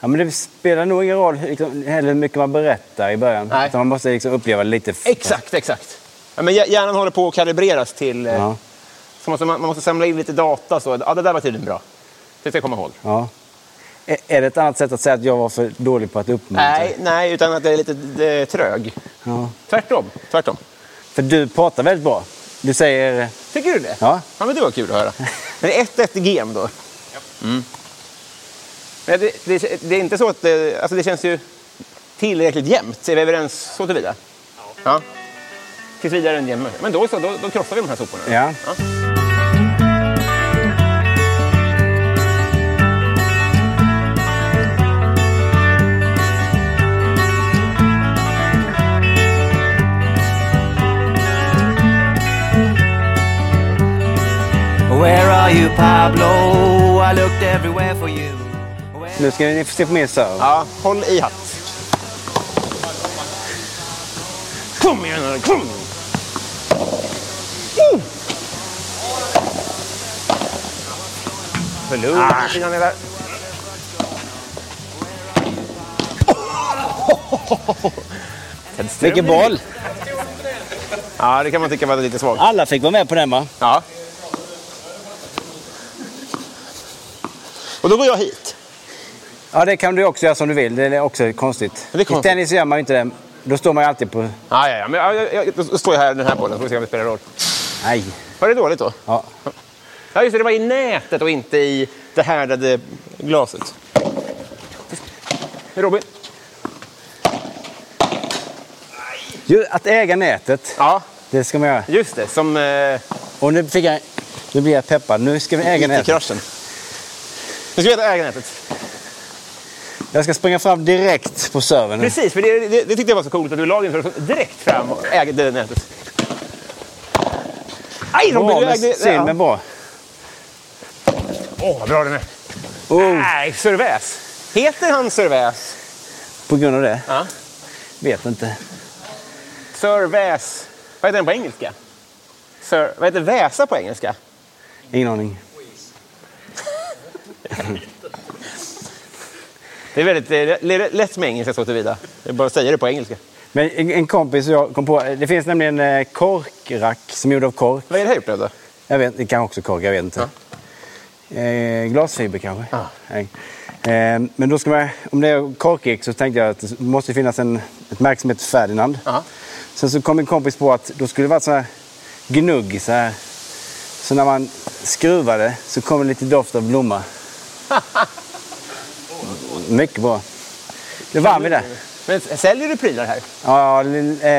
[SPEAKER 3] ja, men det spelar nog ingen roll liksom, heller hur mycket man berättar i början.
[SPEAKER 2] Nej.
[SPEAKER 3] Utan man måste liksom uppleva lite. f-
[SPEAKER 2] exakt, exakt. Ja, Men hjär- hjärnan håller på att kalibreras till... eh,
[SPEAKER 3] Ja.
[SPEAKER 2] Så måste man, man måste samla in lite data. Så, ja, det där var tydligen bra. Det ska jag komma ihåg.
[SPEAKER 3] Ja. Är, är det ett annat sätt att säga att jag var för dålig på att uppmuntra?
[SPEAKER 2] Nej, nej, utan att det är lite eh, trög.
[SPEAKER 3] Mm, Ja.
[SPEAKER 2] Tvärtom. Tvärtom.
[SPEAKER 3] För du pratar väldigt bra. Du säger...
[SPEAKER 2] Tycker du det?
[SPEAKER 3] Ja.
[SPEAKER 2] Ja, men det var kul att höra. Men det är 1-1 i GM då. Mm. Men det, det, det är inte så att det, alltså det känns ju tillräckligt jämnt. Är vi överens så tillvida? Ja. ja. Tills vidare en jämn Men då så, då, då krossar vi de här soporna.
[SPEAKER 3] Ja.
[SPEAKER 6] Where are you, Pablo? I looked everywhere for you. Where-
[SPEAKER 3] Nu ska ni få se på min serve.
[SPEAKER 2] ja håll i hatt. Kom igen nu, kom! Oh! Förlora ah. innan jag där.
[SPEAKER 3] Vilken boll!
[SPEAKER 2] Ja, det kan man tycka var lite svagt.
[SPEAKER 3] Alla fick vara med på den va?
[SPEAKER 2] Ja. Och då går jag hit.
[SPEAKER 3] Ja, det kan du också göra som du vill. Det är också konstigt.
[SPEAKER 2] Det är konstigt.
[SPEAKER 3] I tennis gör man ju inte det. Då står man ju alltid på...
[SPEAKER 2] Ja, ja, ja. Men jag, jag, jag, då står jag här i den här bollen så får vi se om det spelar roll.
[SPEAKER 3] Nej.
[SPEAKER 2] Var det dåligt då?
[SPEAKER 3] Ja.
[SPEAKER 2] Ja, just det. Det var i nätet och inte i det härdade glaset. Robin?
[SPEAKER 3] Ju, att äga nätet,
[SPEAKER 2] Ja,
[SPEAKER 3] det ska man göra.
[SPEAKER 2] just det. Som eh,
[SPEAKER 3] Och nu fick jag... Nu blir jag peppad. Nu ska vi äga nätet.
[SPEAKER 2] IT-kraschen. Nu ska vi äta ägarnätet.
[SPEAKER 3] Jag ska springa fram direkt på servern nu.
[SPEAKER 2] Precis, för det, det, det tyckte jag var så coolt att du la din för direkt fram och ägde nätet. Aj, Robin!
[SPEAKER 3] Bra,
[SPEAKER 2] du
[SPEAKER 3] men
[SPEAKER 2] ägde...
[SPEAKER 3] synd men bra.
[SPEAKER 2] Åh, vad bra den är.
[SPEAKER 3] Oh,
[SPEAKER 2] Nej, Servais. Heter han Servais?
[SPEAKER 3] på grund av det?
[SPEAKER 2] Ja.
[SPEAKER 3] Vet inte.
[SPEAKER 2] Servais. Vad heter den på engelska? Sir, vad heter väsa på engelska?
[SPEAKER 3] Ingen aning.
[SPEAKER 2] Det är väldigt det är lätt med engelska så tillvida. Jag bara säger det på engelska.
[SPEAKER 3] Men en en kompis och jag kom på, det finns nämligen eh, korkrack som är gjord av kork.
[SPEAKER 2] Vad är det här gjort av då?
[SPEAKER 3] Jag vet, det kan också kork, jag vet inte. Eh, glasfiber kanske?
[SPEAKER 2] Ja.
[SPEAKER 3] Nej. Eh, men då ska man, om det är korkig så tänkte jag att det måste finnas en, ett märke som heter Ferdinand.
[SPEAKER 2] Ja.
[SPEAKER 3] Sen så kom en kompis på att då skulle det vara så här gnugg så här. Så när man skruvade så kom det lite doft av blomma. Mycket bra. Det var vi där.
[SPEAKER 2] Men säljer du prylar här?
[SPEAKER 3] Ja, li- eh,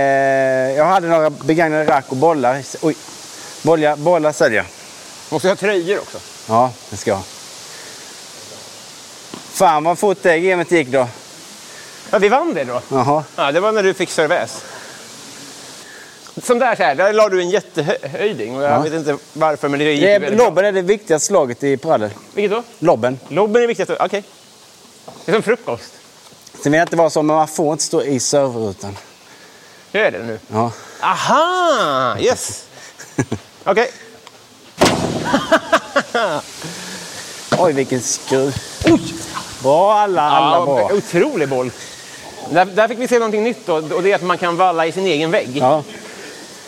[SPEAKER 3] jag hade några begagnade rack och bollar. Oj. Bollar, bollar säljer jag.
[SPEAKER 2] Måste jag ha tröjor också?
[SPEAKER 3] Ja, det ska jag. Fan vad fort det gamet gick då.
[SPEAKER 2] Ja, vi vann det då.
[SPEAKER 3] Jaha.
[SPEAKER 2] Ja, det var när du fick serväs. Som där, så här, där la du en jättehöjding och jag
[SPEAKER 3] Ja.
[SPEAKER 2] vet inte varför men det gick
[SPEAKER 3] Det är,
[SPEAKER 2] väldigt bra.
[SPEAKER 3] lobben är det viktigaste slaget i padel.
[SPEAKER 2] Vilket då?
[SPEAKER 3] Lobben.
[SPEAKER 2] Lobben är viktigt. Okej. Det är som frukost.
[SPEAKER 3] Sen vill jag inte vara så, men man får inte stå i serverrutan.
[SPEAKER 2] Gör jag det nu?
[SPEAKER 3] Ja.
[SPEAKER 2] Aha! Yes! Okej.
[SPEAKER 3] Oj, vilken skruv. Bra alla, alla
[SPEAKER 2] Ja,
[SPEAKER 3] bra.
[SPEAKER 2] Otrolig boll. Där, där fick vi se någonting nytt då, och det är att man kan valla i sin egen vägg.
[SPEAKER 3] Ja.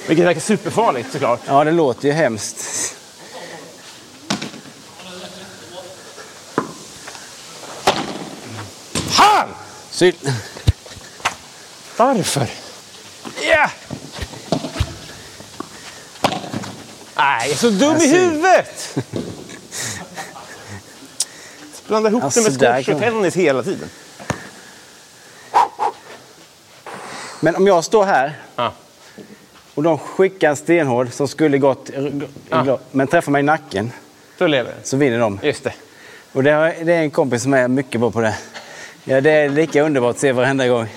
[SPEAKER 2] Vilket verkar superfarligt såklart.
[SPEAKER 3] ja, det låter ju hemskt.
[SPEAKER 2] Fan!
[SPEAKER 3] Syl.
[SPEAKER 2] Varför? Ja! Nej, jag är så dum i
[SPEAKER 3] Alltså.
[SPEAKER 2] huvudet! Blandar ihop
[SPEAKER 3] Alltså,
[SPEAKER 2] det med
[SPEAKER 3] där
[SPEAKER 2] squash och
[SPEAKER 3] kan-
[SPEAKER 2] tennis hela tiden.
[SPEAKER 3] Men om jag står här
[SPEAKER 2] Ja.
[SPEAKER 3] och de skickar en stenhård som skulle gått i- i-
[SPEAKER 2] Ja.
[SPEAKER 3] men träffar mig i nacken
[SPEAKER 2] Så lever den.
[SPEAKER 3] så vinner de.
[SPEAKER 2] Just det.
[SPEAKER 3] Och det, har, det är en kompis som är mycket bra på det. Ja, det är lika underbart att se varenda gång.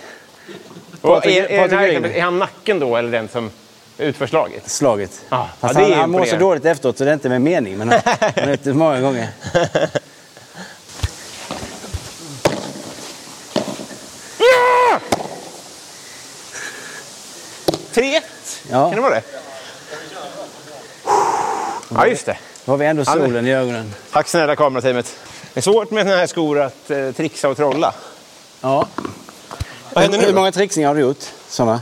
[SPEAKER 2] Och
[SPEAKER 3] Patrik-
[SPEAKER 2] är, är, den
[SPEAKER 3] Patrik
[SPEAKER 2] här,
[SPEAKER 3] Rydberg.
[SPEAKER 2] är han nacken då eller den som utför slaget?
[SPEAKER 3] Slaget.
[SPEAKER 2] Ah, Ja,
[SPEAKER 3] Fast
[SPEAKER 2] ja, det
[SPEAKER 3] han,
[SPEAKER 2] är
[SPEAKER 3] han mår så
[SPEAKER 2] imponerande.
[SPEAKER 3] dåligt efteråt så det är inte med mening. Men han han har gjort det många gånger.
[SPEAKER 2] Ja! 3-1.
[SPEAKER 3] Ja.
[SPEAKER 2] Kan det vara det? Ja, just det.
[SPEAKER 3] Då har vi ändå
[SPEAKER 2] men-
[SPEAKER 3] solen i ögonen.
[SPEAKER 2] Tack snälla kamerateamet. Det är svårt med såna här skor att eh, trixa och trolla.
[SPEAKER 3] Ja.
[SPEAKER 2] Vad händer nu
[SPEAKER 3] Hur
[SPEAKER 2] då?
[SPEAKER 3] många trixningar har du gjort? Såna?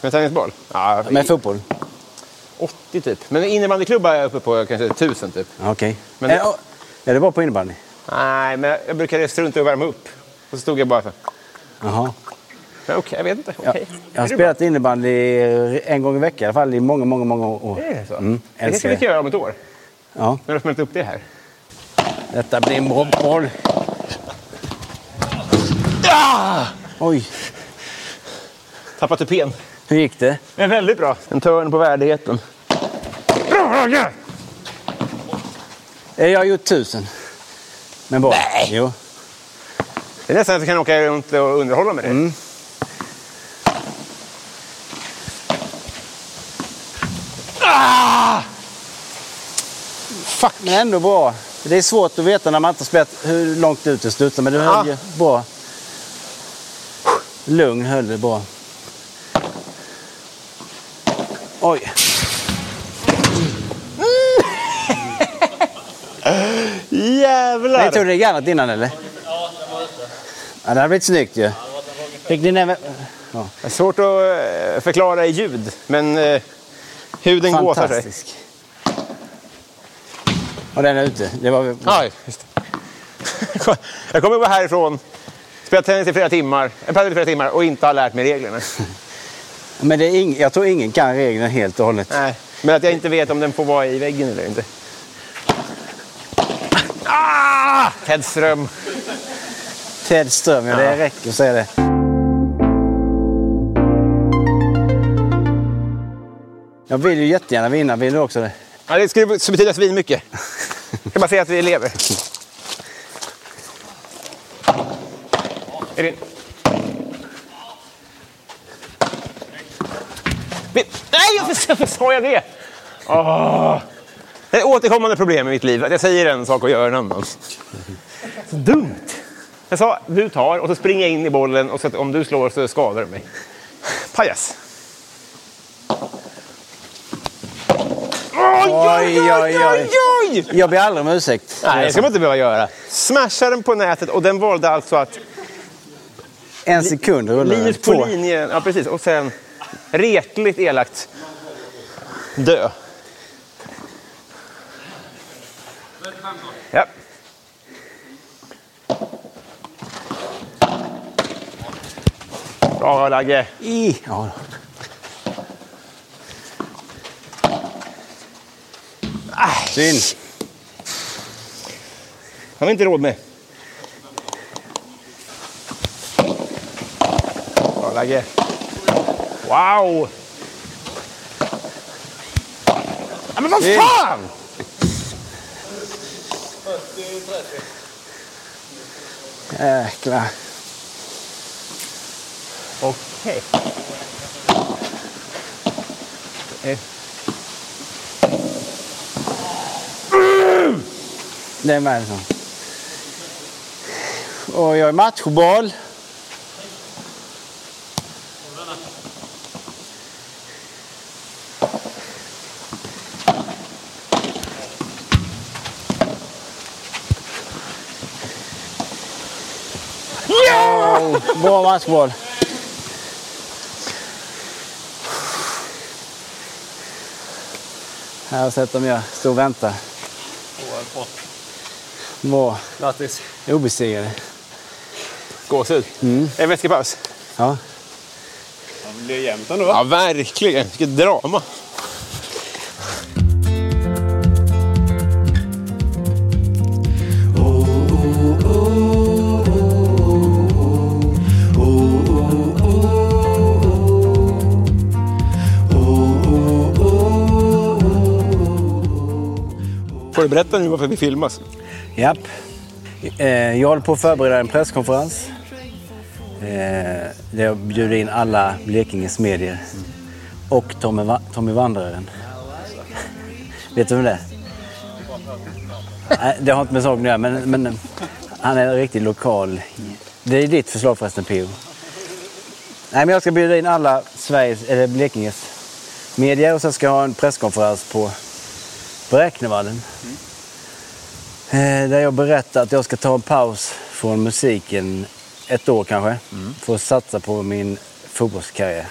[SPEAKER 2] Med tennisboll? Ja,
[SPEAKER 3] Med fotboll?
[SPEAKER 2] 80 typ. Men innebandyklubba är jag uppe på kanske 1000 typ.
[SPEAKER 3] Ja, Okej.
[SPEAKER 2] Men-
[SPEAKER 3] Är, är det bra på innebandy?
[SPEAKER 2] Nej, men jag brukade strunta i att värma upp. Och så stod jag bara så här.
[SPEAKER 3] Jaha.
[SPEAKER 2] Men Okej, jag vet inte.
[SPEAKER 3] Ja,
[SPEAKER 2] Okej.
[SPEAKER 3] jag har
[SPEAKER 2] Är det bra?
[SPEAKER 3] spelat innebandy en gång i veckan i alla fall i många, många, många år.
[SPEAKER 2] Är det så?
[SPEAKER 3] Mm,
[SPEAKER 2] det
[SPEAKER 3] älskar
[SPEAKER 2] ska vi
[SPEAKER 3] det.
[SPEAKER 2] göra om ett år.
[SPEAKER 3] Ja,
[SPEAKER 2] När du har smält upp det här.
[SPEAKER 3] detta blir en bra boll.
[SPEAKER 2] Ah!
[SPEAKER 3] Oj,
[SPEAKER 2] Tappat tupén.
[SPEAKER 3] hur gick det?
[SPEAKER 2] Men väldigt bra. En törn på värdigheten. Bra, Roger!
[SPEAKER 3] Eh, Jag har gjort tusen. Med boll. Nej. Jo.
[SPEAKER 2] Det är nästan att jag kan åka runt och underhålla med det.
[SPEAKER 3] Fuck. Men ändå bra. Det är svårt att veta när man inte har spelat hur långt ut det slutar, men du höll
[SPEAKER 2] Ah.
[SPEAKER 3] ju bra. Lugn höll det bra. Oj.
[SPEAKER 2] Jävlar!
[SPEAKER 3] Nej, tog du det järnet innan eller? Ja, det hade blivit snyggt ju. Fick ni näven? Ja,
[SPEAKER 2] Det är svårt att eh, förklara i ljud, men eh, huden gåsar sig.
[SPEAKER 3] fantastisk. Och den är ute. Det var...
[SPEAKER 2] Ja, just det. Jag kommer gå härifrån, spela tennis i flera timmar, en padel i flera timmar och inte ha lärt mig reglerna.
[SPEAKER 3] Men det är ing... jag tror ingen kan reglerna helt och hållet.
[SPEAKER 2] Nej, men att jag inte vet om den får vara i väggen eller inte. Ah! Ted Ström.
[SPEAKER 3] Ted Ström, ja, det räcker att säga det. Jag vill ju jättegärna vinna. Vill du också det?
[SPEAKER 2] Ja, det skulle betyda svinmycket. Jag kan bara säga att vi lever. Är det... Vi- Nej, varför, varför sa jag det? Åh. Det är ett återkommande problem i mitt liv. Att jag säger en sak och gör en annan. Så dumt. Jag sa du tar och så springer jag in i bollen och så att om du slår så skadar du mig. Pajas. Oj, oj, oj, oj, oj!
[SPEAKER 3] Jag ber aldrig om ursäkt.
[SPEAKER 2] Nej, det ska man inte behöva göra. Smashade den på nätet och den valde alltså att
[SPEAKER 3] En sekund rullar den.
[SPEAKER 2] Linus på linjen, ja precis, och sen retligt elakt dö. Ja. Bra Lagge.
[SPEAKER 3] I. Ja, då. Synd.
[SPEAKER 2] Han har vi inte råd med. Bra Ragge! Wow! Ja, men vad fan!
[SPEAKER 3] Jäklar.
[SPEAKER 2] Okej.
[SPEAKER 3] Det är med liksom. Och jag är matchboll. Oh, bra matchboll. Här har jag sett dem jag står och väntar. Bra.
[SPEAKER 2] Grattis.
[SPEAKER 3] Jag är obesegrade.
[SPEAKER 2] Gåshud. En vätskepaus.
[SPEAKER 3] Ja.
[SPEAKER 4] Det blir jämnt ändå.
[SPEAKER 2] Ja, verkligen. Vilket drama. Får du berätta nu varför vi filmas?
[SPEAKER 3] Japp. Eh, Jag håller på att förbereda en presskonferens. eh, Där jag bjuder in alla Blekinges medier. Och Tommy, Va- Tommy Vandraren. Vet du vem det är? Nej, Det har inte med saken att göra, men, men han är en riktig lokal. Det är ditt förslag förresten, P.O. Nej, men jag ska bjuda in alla Sveriges, eller Blekinges medier och sen ska jag ha en presskonferens på Bräknevallen. Eh, Där jag berättar att jag ska ta en paus från musiken ett år kanske. För att satsa på min fotbollskarriär.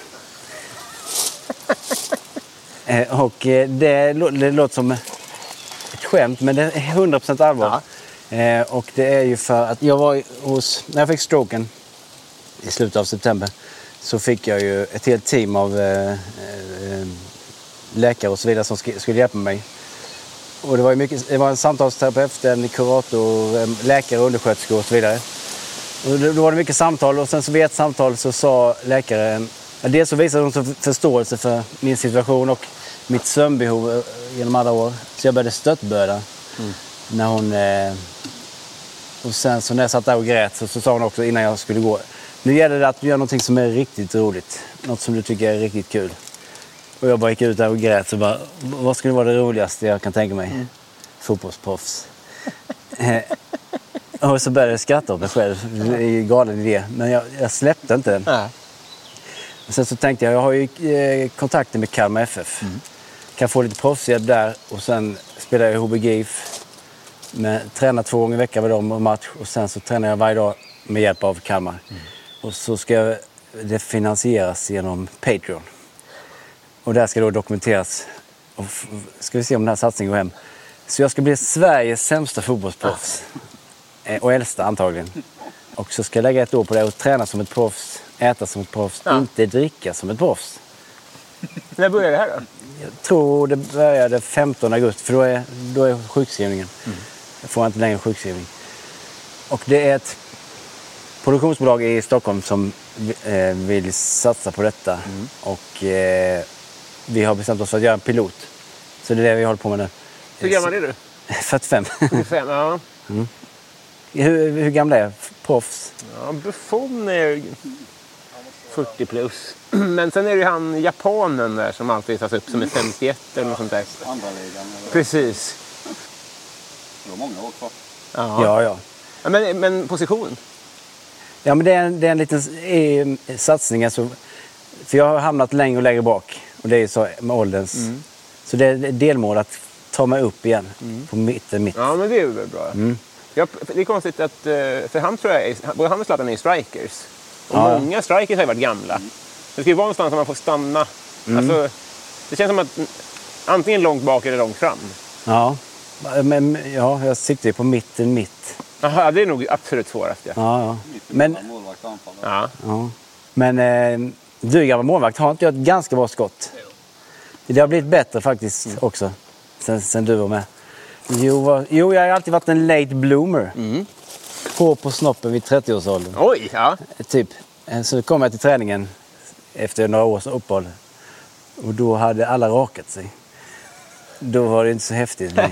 [SPEAKER 3] Eh, Och eh, det, lå- det låter som ett skämt men det är 100% allvar. Eh, Och det är ju för att jag var ju hos, när jag fick stroken i slutet av september så fick jag ju ett helt team av eh, eh, läkare och så vidare som sk- skulle hjälpa mig. Och det var, ju mycket, det var en samtalsterapeut, en kurator, en läkare, undersköterskor och så vidare. Och då, då var det mycket samtal och sen så vid ett samtal så sa läkaren... ja, Dels så visade de så förståelse för min situation och mitt sömnbehov eh, genom alla år. Så jag började stöttböda. När hon... Eh, och sen så när jag satt där och grät så, så sa hon också innan jag skulle gå. Nu gäller det att du gör någonting som är riktigt roligt. Något som du tycker är riktigt kul. Och jag bara gick ut där och grät. Så bara, vad skulle vara det roligaste jag kan tänka mig? Fotbollsproffs. Eh, och så började jag skratta åt mig själv. Det är ju en galen idé. Men jag, jag släppte inte den.
[SPEAKER 2] Nej.
[SPEAKER 3] Sen så tänkte jag, jag har ju eh, kontakter med Kalmar FF. Kan få lite proffshjälp där och sen spelar jag i HB GIF. Men Tränar två gånger i veckan med dem och match och sen så tränar jag varje dag med hjälp av Kalmar. Och så ska jag, det finansieras genom Patreon. Och där ska då dokumenteras. Och f- ska vi se om den här satsningen går hem. Så jag ska bli Sveriges sämsta fotbollsproffs. Eh, Och äldsta antagligen. Och så ska jag lägga ett år på det och träna som ett proffs, äta som ett proffs, inte dricka som ett proffs.
[SPEAKER 2] När började det här då?
[SPEAKER 3] Jag tror det började 15 augusti för då är, då är sjukskrivningen. Jag får inte längre sjukskrivning. Och det är ett produktionsbolag i Stockholm som eh, vill satsa på detta.
[SPEAKER 2] Mm.
[SPEAKER 3] Och eh, vi har bestämt oss för att göra en pilot. Så det är det vi håller på med nu.
[SPEAKER 2] Hur gammal är du?
[SPEAKER 3] 45.
[SPEAKER 2] 25? Ja.
[SPEAKER 3] hur, hur gamla är jag? proffs?
[SPEAKER 2] ja Buffon är 40 plus. Men sen är det ju han japanen där som alltid tas upp som är 51 eller något sånt där.
[SPEAKER 4] Andra ligan. eller-
[SPEAKER 2] Precis.
[SPEAKER 4] Det var många år kvar.
[SPEAKER 2] Ja.
[SPEAKER 3] ja. ja.
[SPEAKER 2] Ja, Men, men position?
[SPEAKER 3] Ja, men det är en, det är en liten eh, satsning. Alltså, för jag har hamnat längre och längre bak. Och det är ju så med ålderns. Så det är ett delmål att ta mig upp igen. På mitten, mitt.
[SPEAKER 2] Ja, men det är väl bra. Mm. Ja, det är konstigt att... eh, För han tror jag är, både han och Zlatan är ju strikers. Och
[SPEAKER 3] Ja, ja.
[SPEAKER 2] många strikers har ju varit gamla. Det ska ju vara någonstans där man får stanna. Alltså, det känns som att mm, antingen långt bak eller långt fram.
[SPEAKER 3] Ja. Men, ja, jag siktar ju på mitten, mitt.
[SPEAKER 2] Aha, det är nog absolut svårast. Ja.
[SPEAKER 3] Ja, ja. Men,
[SPEAKER 4] Målvakt och anfallare.
[SPEAKER 2] Ja.
[SPEAKER 3] ja. men eh, du gammal målvakt, har inte jag ett ganska bra skott? Det har blivit bättre faktiskt också. Sen, sen du var med. Jo, vad- jo, jag har alltid varit en late bloomer. Hår på snoppen vid 30-årsåldern.
[SPEAKER 2] Oj! Ja.
[SPEAKER 3] Typ. Eh, Så kom jag till träningen efter några års uppehåll och då hade alla rakat sig. Då var det inte så häftigt. Men...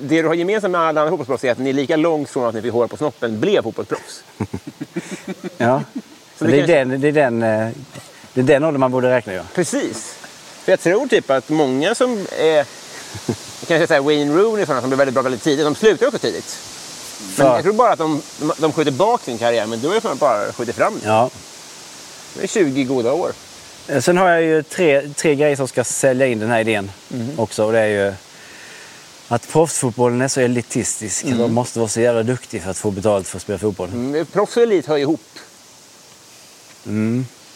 [SPEAKER 2] Det du har gemensamt med alla andra fotbollsproffs är att ni är lika långt från att ni fick hår på snoppen blev fotbollsproffs.
[SPEAKER 3] Ja. Men
[SPEAKER 2] det
[SPEAKER 3] det, är den, det, är den, eh, det är den åldern man borde räkna, ja.
[SPEAKER 2] Precis. För jag tror typ att många som är... Kanske säga Wayne Rooney och sådana som blir väldigt bra väldigt tidigt, de slutar också tidigt. Men
[SPEAKER 3] Ja.
[SPEAKER 2] jag tror bara att de, de, de skjuter bak sin karriär, men du har ju fan bara skjutit fram den.
[SPEAKER 3] ja.
[SPEAKER 2] Det är 20 goda år.
[SPEAKER 3] Eh, Sen har jag ju tre, tre grejer som ska sälja in den här idén
[SPEAKER 2] Mhm.
[SPEAKER 3] också. Och det är ju att proffsfotbollen är så elitistisk. Man måste vara så jävla duktig för att få betalt för att spela fotboll.
[SPEAKER 2] Mm, Proffs och elit hör ihop.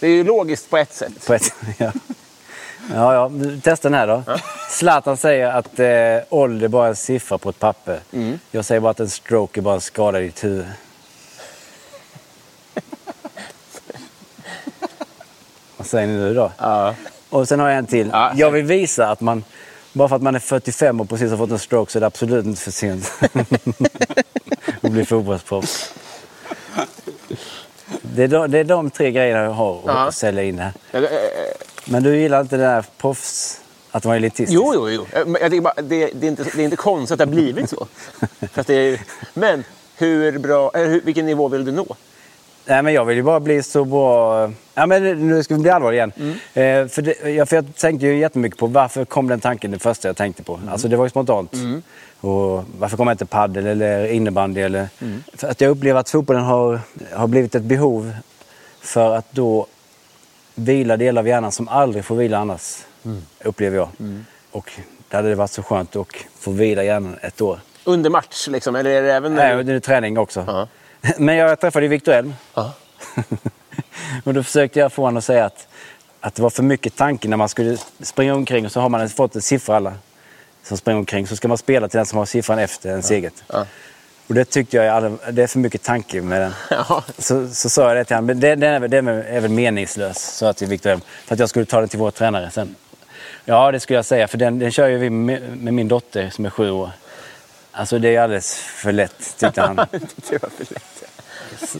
[SPEAKER 2] Det är ju logiskt på ett sätt.
[SPEAKER 3] På ett, ja. Ja, ja, testa den här då. Zlatan säger att eh, ålder bara är en siffra på ett papper.
[SPEAKER 2] Mm.
[SPEAKER 3] Jag säger bara att en stroke är bara en skada i ditt huvud. Vad säger ni nu då? Och sen har jag en till.
[SPEAKER 2] Ja.
[SPEAKER 3] Jag vill visa att man, bara för att man är 45 och precis har fått en stroke så är det absolut inte för sent att bli fotbollsproffs. Det är, de, det är de tre grejerna jag har att
[SPEAKER 2] Ja.
[SPEAKER 3] sälja in här.
[SPEAKER 2] Eh, eh,
[SPEAKER 3] Men du gillar inte det där proffs... Att vara elitistisk?
[SPEAKER 2] Jo, jo, jo. Eh, Men jag tycker bara, det, det, är inte, det är inte konstigt att det har blivit så. För att det är, men hur bra, eller hur, vilken nivå vill du nå?
[SPEAKER 3] Nej, men jag vill ju bara bli så bra... Ja, men nu ska vi bli allvarliga igen. Eh, för, det, ja, för jag tänkte ju jättemycket på varför kom den tanken det första jag tänkte på. Alltså det var ju spontant. Och varför kom jag inte padel eller innebandy? Eller... För att jag upplever att fotbollen har, har blivit ett behov för att då vila delar av hjärnan som aldrig får vila annars, upplever jag. Och där hade det varit så skönt att få vila hjärnan ett år.
[SPEAKER 2] Under match, liksom, eller är det även...
[SPEAKER 3] Nej, och det är träning också.
[SPEAKER 2] Ja.
[SPEAKER 3] Men jag träffade ju Victor Elm.
[SPEAKER 2] Ja.
[SPEAKER 3] och då försökte jag få honom att säga att, att det var för mycket tanke när man skulle springa omkring och så har man fått en siffra alla som springer omkring. Så ska man spela till den som har siffran efter ens eget.
[SPEAKER 2] Ja.
[SPEAKER 3] Och det tyckte jag är alla- det är för mycket tanke med den.
[SPEAKER 2] Ja.
[SPEAKER 3] Så, så sa jag det till honom, men den, den, är, väl- den är väl meningslös, sa jag till Victor Elm. För att jag skulle ta den till vår tränare sen. Ja, det skulle jag säga, för den, den kör ju vi med, med min dotter som är sju år. Alltså det är alldeles för lätt, tyckte han.
[SPEAKER 2] det var för lätt.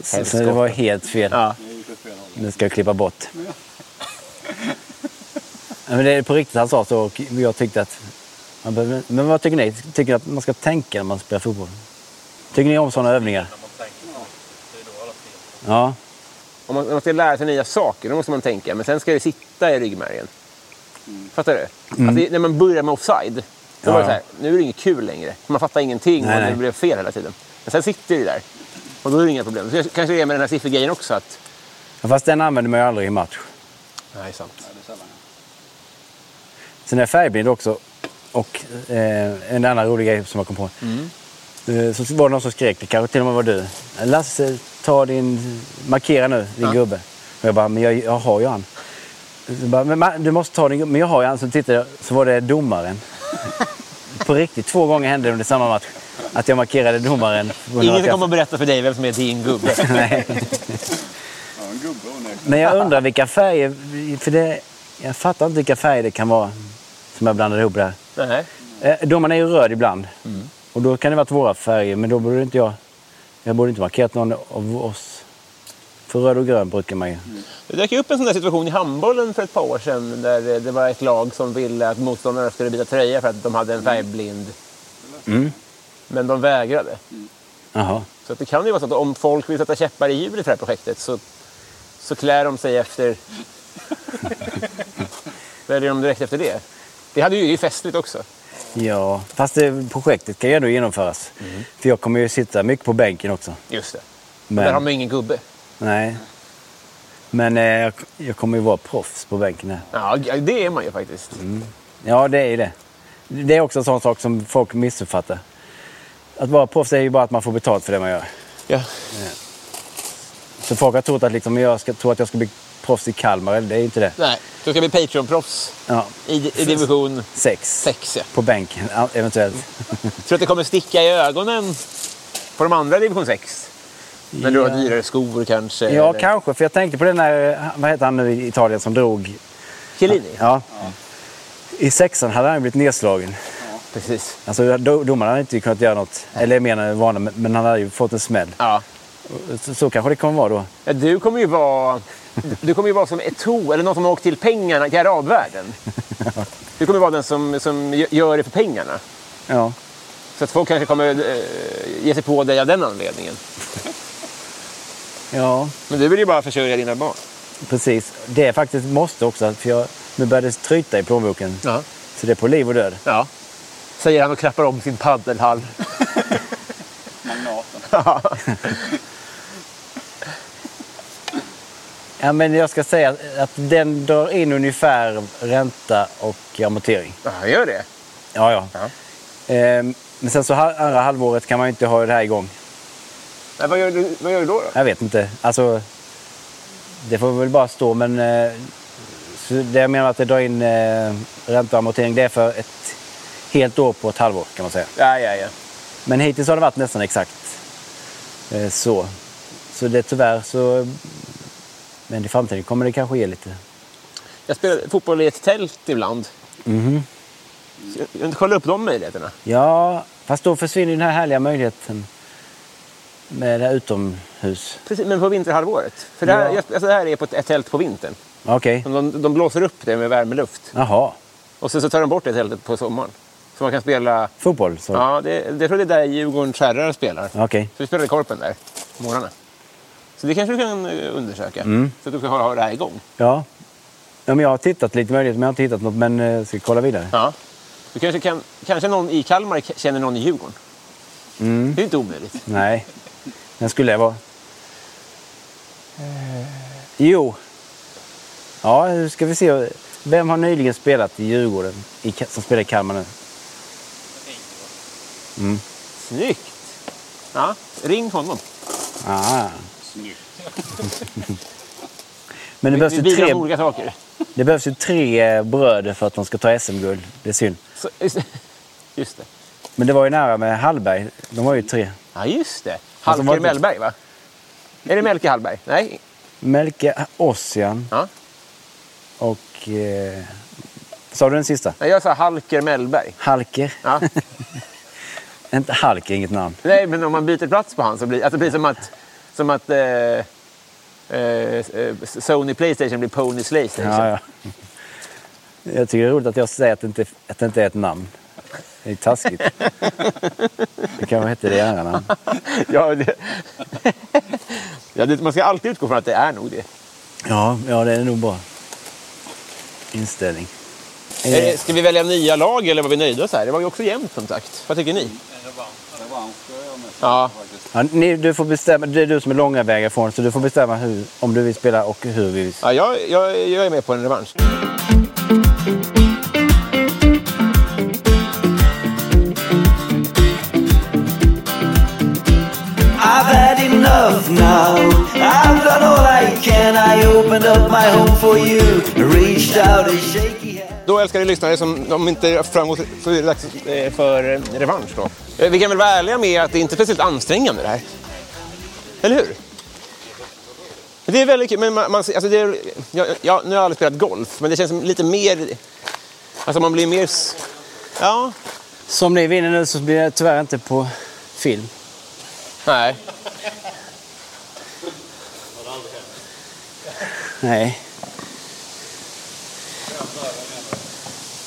[SPEAKER 3] Så, så det var helt fel.
[SPEAKER 2] Ja.
[SPEAKER 3] Nu ska jag klippa bort. Ja, Men det är på riktigt han sa så och jag tyckte att... Man behöver, men vad tycker ni? Tycker ni att man ska tänka när man spelar fotboll? Tycker ni om sådana övningar? Ja.
[SPEAKER 2] Om man, om man ska lära sig nya saker, då måste man tänka. Men sen ska det sitta i ryggmärgen. Fattar du? Alltså, när man börjar med offside, då
[SPEAKER 3] Ja,
[SPEAKER 2] var det
[SPEAKER 3] Mm. ja.
[SPEAKER 2] så här, nu är det inget kul längre. Man fattar ingenting
[SPEAKER 3] Nej,
[SPEAKER 2] och det
[SPEAKER 3] nej.
[SPEAKER 2] blev fel hela tiden. Men sen sitter det ju där. Och då är det inga problem. Så kanske- kanske det är med den här siffergrejen också. Att...
[SPEAKER 3] Ja, Fast den använder man ju aldrig i match.
[SPEAKER 2] Nej, sant.
[SPEAKER 3] Sen är jag färgblind också. Och eh, en annan rolig grej som jag kom på.
[SPEAKER 2] Mm.
[SPEAKER 3] Eh, så var det någon som skrek, det kanske till och med var du. Lasse, ta din... Markera nu, din gubbe. Och jag bara, men jag, jag har ju han. Så bara, men ma- du måste ta din gubbe. Men jag har ju han. Så tittade jag, så var det domaren. på riktigt, två gånger hände det under samma match. Att jag markerade domaren.
[SPEAKER 2] Ingen kommer att berätta för dig vem som är din gubbe.
[SPEAKER 3] Nej.
[SPEAKER 4] Ja, en gubbe onekligen.
[SPEAKER 3] Men jag undrar vilka färger... För det, jag fattar inte vilka färger det kan vara som jag blandade ihop där.
[SPEAKER 2] Nej.
[SPEAKER 3] Eh, Domaren är ju röd ibland.
[SPEAKER 2] Mm.
[SPEAKER 3] Och då kan det vara våra färger, men då borde inte jag... Jag borde inte markerat någon av oss. För röd och grön brukar man ju.
[SPEAKER 2] Det dök ju upp en sån där situation i handbollen för ett par år sedan där det var ett lag som ville att motståndarna skulle byta tröja för att de hade en färgblind. Men de vägrade.
[SPEAKER 3] Jaha.
[SPEAKER 2] Så att det kan ju vara så att om folk vill sätta käppar i hjulet för det här projektet så, så klär de sig efter... Väljer de direkt efter det. Det hade ju det är ju festligt också.
[SPEAKER 3] Ja, fast det, projektet kan ju ändå genomföras. För jag kommer ju sitta mycket på bänken också.
[SPEAKER 2] Just Mm. det.
[SPEAKER 3] Men,
[SPEAKER 2] Där har man ju ingen gubbe.
[SPEAKER 3] Nej. Men eh, jag, jag kommer ju vara proffs på bänken här.
[SPEAKER 2] Ja, det är man ju faktiskt.
[SPEAKER 3] Ja, det är ju det. Det är också en sån sak som folk missuppfattar. Att vara proffs är ju bara att man får betalt för det man gör.
[SPEAKER 2] Ja.
[SPEAKER 3] Så folk har trott att, liksom, jag, ska, tror att jag ska bli proffs i Kalmar, eller det är ju inte det.
[SPEAKER 2] Nej, då ska vi Patreon-proffs
[SPEAKER 3] Ja,
[SPEAKER 2] i, i division
[SPEAKER 3] sex. Mm.
[SPEAKER 2] 6. Ja.
[SPEAKER 3] På bänken, ja, eventuellt.
[SPEAKER 2] Tror du att det kommer sticka i ögonen på de andra i division 6? När du har dyrare skor kanske?
[SPEAKER 3] Ja,
[SPEAKER 2] eller-
[SPEAKER 3] kanske. För jag tänkte på den där, eh, vad heter han nu i Italien som drog?
[SPEAKER 2] Chiellini?
[SPEAKER 3] Ja. I sexan hade han blivit nedslagen.
[SPEAKER 2] Precis.
[SPEAKER 3] Alltså do- domaren hade inte kunnat göra något, eller jag menar vana, men han hade ju fått en smäll.
[SPEAKER 2] Ja.
[SPEAKER 3] Så, så kanske det kommer vara då.
[SPEAKER 2] Ja, du kommer ju vara... Du kommer ju vara som Eto'o eller någon som har åkt till pengarna i arabvärlden. Du kommer vara den som, som gör det för pengarna.
[SPEAKER 3] Ja.
[SPEAKER 2] Så att folk kanske kommer eh, ge sig på dig av den anledningen.
[SPEAKER 3] Ja,
[SPEAKER 2] Men du vill ju bara försörja dina barn.
[SPEAKER 3] precis. Det är faktiskt måste också. För jag, nu börjar det tryta i plånboken.
[SPEAKER 2] Ja.
[SPEAKER 3] Så det är på liv och död.
[SPEAKER 2] ja. Säger han och klappar om sin paddelhall.
[SPEAKER 4] Magnaten.
[SPEAKER 3] Ja, men jag ska säga att den drar in ungefär ränta och amortering.
[SPEAKER 2] Ja, han gör det.
[SPEAKER 3] Ja, ja. Ehm, men sen så ha- andra halvåret kan man ju inte ha det här igång.
[SPEAKER 2] Men vad, gör du, vad gör du då? då?
[SPEAKER 3] Jag vet inte. Alltså, det får väl bara stå, men eh, så det jag menar att det drar in eh, ränta och amortering, det är för ett helt år på ett halvår kan man säga.
[SPEAKER 2] Ja, ja, ja.
[SPEAKER 3] Men hittills har det varit nästan exakt eh, så. Så det är tyvärr så... Men i framtiden kommer det kanske ge lite.
[SPEAKER 2] Jag spelar fotboll i ett tält ibland. Så Jag, jag kollar upp de möjligheterna.
[SPEAKER 3] Ja, fast då försvinner ju den här härliga möjligheten med det här utomhus.
[SPEAKER 2] Precis, men på vinterhalvåret. För det här,
[SPEAKER 3] Ja.
[SPEAKER 2] jag, alltså det här är på ett, ett tält på vintern.
[SPEAKER 3] Okej.
[SPEAKER 2] De, de blåser upp det med värmeluft.
[SPEAKER 3] Jaha.
[SPEAKER 2] Och sen så tar de bort det tältet på sommaren. Så man kan spela...
[SPEAKER 3] Fotboll? Så.
[SPEAKER 2] Ja, det, det tror jag det är där Djurgårdens herrar spelar.
[SPEAKER 3] Okej.
[SPEAKER 2] Så vi spelade Korpen där, på morgnarna. Så det kanske du kan eh, undersöka, så att du kan ha ha det här igång.
[SPEAKER 3] Ja. ja men jag har tittat lite möjligt, men jag har inte hittat något. Men eh, ska kolla vidare.
[SPEAKER 2] Ja. Du kanske, kan, kanske någon i Kalmar k- känner någon i Djurgården. Det är inte omöjligt.
[SPEAKER 3] Nej. Den skulle jag vara. Jo. Ja, hur ska vi se. Vem har nyligen spelat i Djurgården? I, Ka- som spelar i Kalmar nu?
[SPEAKER 2] Snyggt! Ja, ring honom.
[SPEAKER 3] Ah. Men det behövs,
[SPEAKER 2] Vi
[SPEAKER 3] ju
[SPEAKER 2] bidrar
[SPEAKER 3] tre,
[SPEAKER 2] på olika saker.
[SPEAKER 3] det behövs ju tre eh, bröder för att de ska ta SM-guld. Det är synd.
[SPEAKER 2] Så, just- just det.
[SPEAKER 3] Men det var ju nära med Hallberg. De var ju tre.
[SPEAKER 2] Ja, just det.
[SPEAKER 3] Alltså,
[SPEAKER 2] Halker
[SPEAKER 3] vad-
[SPEAKER 2] Mellberg, va? Är det Melke Hallberg? Nej.
[SPEAKER 3] Melke Ossian
[SPEAKER 2] Ja.
[SPEAKER 3] och... Eh, sa du den sista?
[SPEAKER 2] Nej, jag sa Halker Mellberg.
[SPEAKER 3] Halker.
[SPEAKER 2] Ja.
[SPEAKER 3] Inte Halker, inget namn.
[SPEAKER 2] Nej, men om man byter plats på han så blir alltså, det blir som att, som att eh, eh, eh, Sony Playstation blir Pony Slaystation.
[SPEAKER 3] Ja, ja. Jag tycker det är roligt att jag säger att det inte, att det inte är ett namn. Det är taskigt. Det kanske hette det i andra namn.
[SPEAKER 2] Ja, det... ja, det, man ska alltid utgå från att det är nog det.
[SPEAKER 3] Ja, ja, det är nog bra. Inställning.
[SPEAKER 2] Är
[SPEAKER 3] Eh,
[SPEAKER 2] det- Ska vi välja nya lag eller var vi nöjda så här? Det var ju också jämnt som sagt. Vad tycker ni?
[SPEAKER 4] Revansch gör jag med
[SPEAKER 2] Ja.
[SPEAKER 4] faktiskt.
[SPEAKER 3] Ja, ni, du får bestämma, det är du som är långa vägar ifrån, så du får bestämma hur, om du vill spela och hur vi vill
[SPEAKER 2] Ja, jag, jag, jag är med på en revansch.
[SPEAKER 6] I've had enough now. I've done all I can. I opened up my home for you. Reached out a shaky hand.
[SPEAKER 2] Då älskade lyssnare som om inte har framgått så är det dags eh, för eh, revansch då. Eh, Vi kan väl vara ärliga med att det inte är speciellt ansträngande det här. Eller hur? Det är väldigt kul, men man, man, alltså det är, jag, jag, nu har jag aldrig spelat golf, men det känns som lite mer... Alltså man blir mer... s- Ja,
[SPEAKER 3] Som ni vinner nu så blir det tyvärr inte på film.
[SPEAKER 2] nej.
[SPEAKER 3] Nej.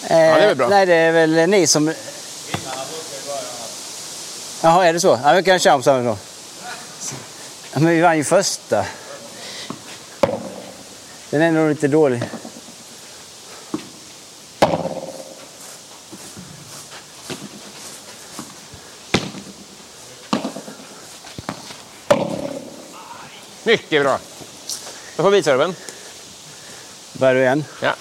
[SPEAKER 2] det är väl bra.
[SPEAKER 3] Eh, Nej, det är väl ni som... Jaha, är det så? Ja, vi kan köra om samma då. Ja, men vi vann ju första. Den är nog lite dålig.
[SPEAKER 2] Mycket bra. Då får vi serven.
[SPEAKER 3] Börjar du igen?
[SPEAKER 2] Ja.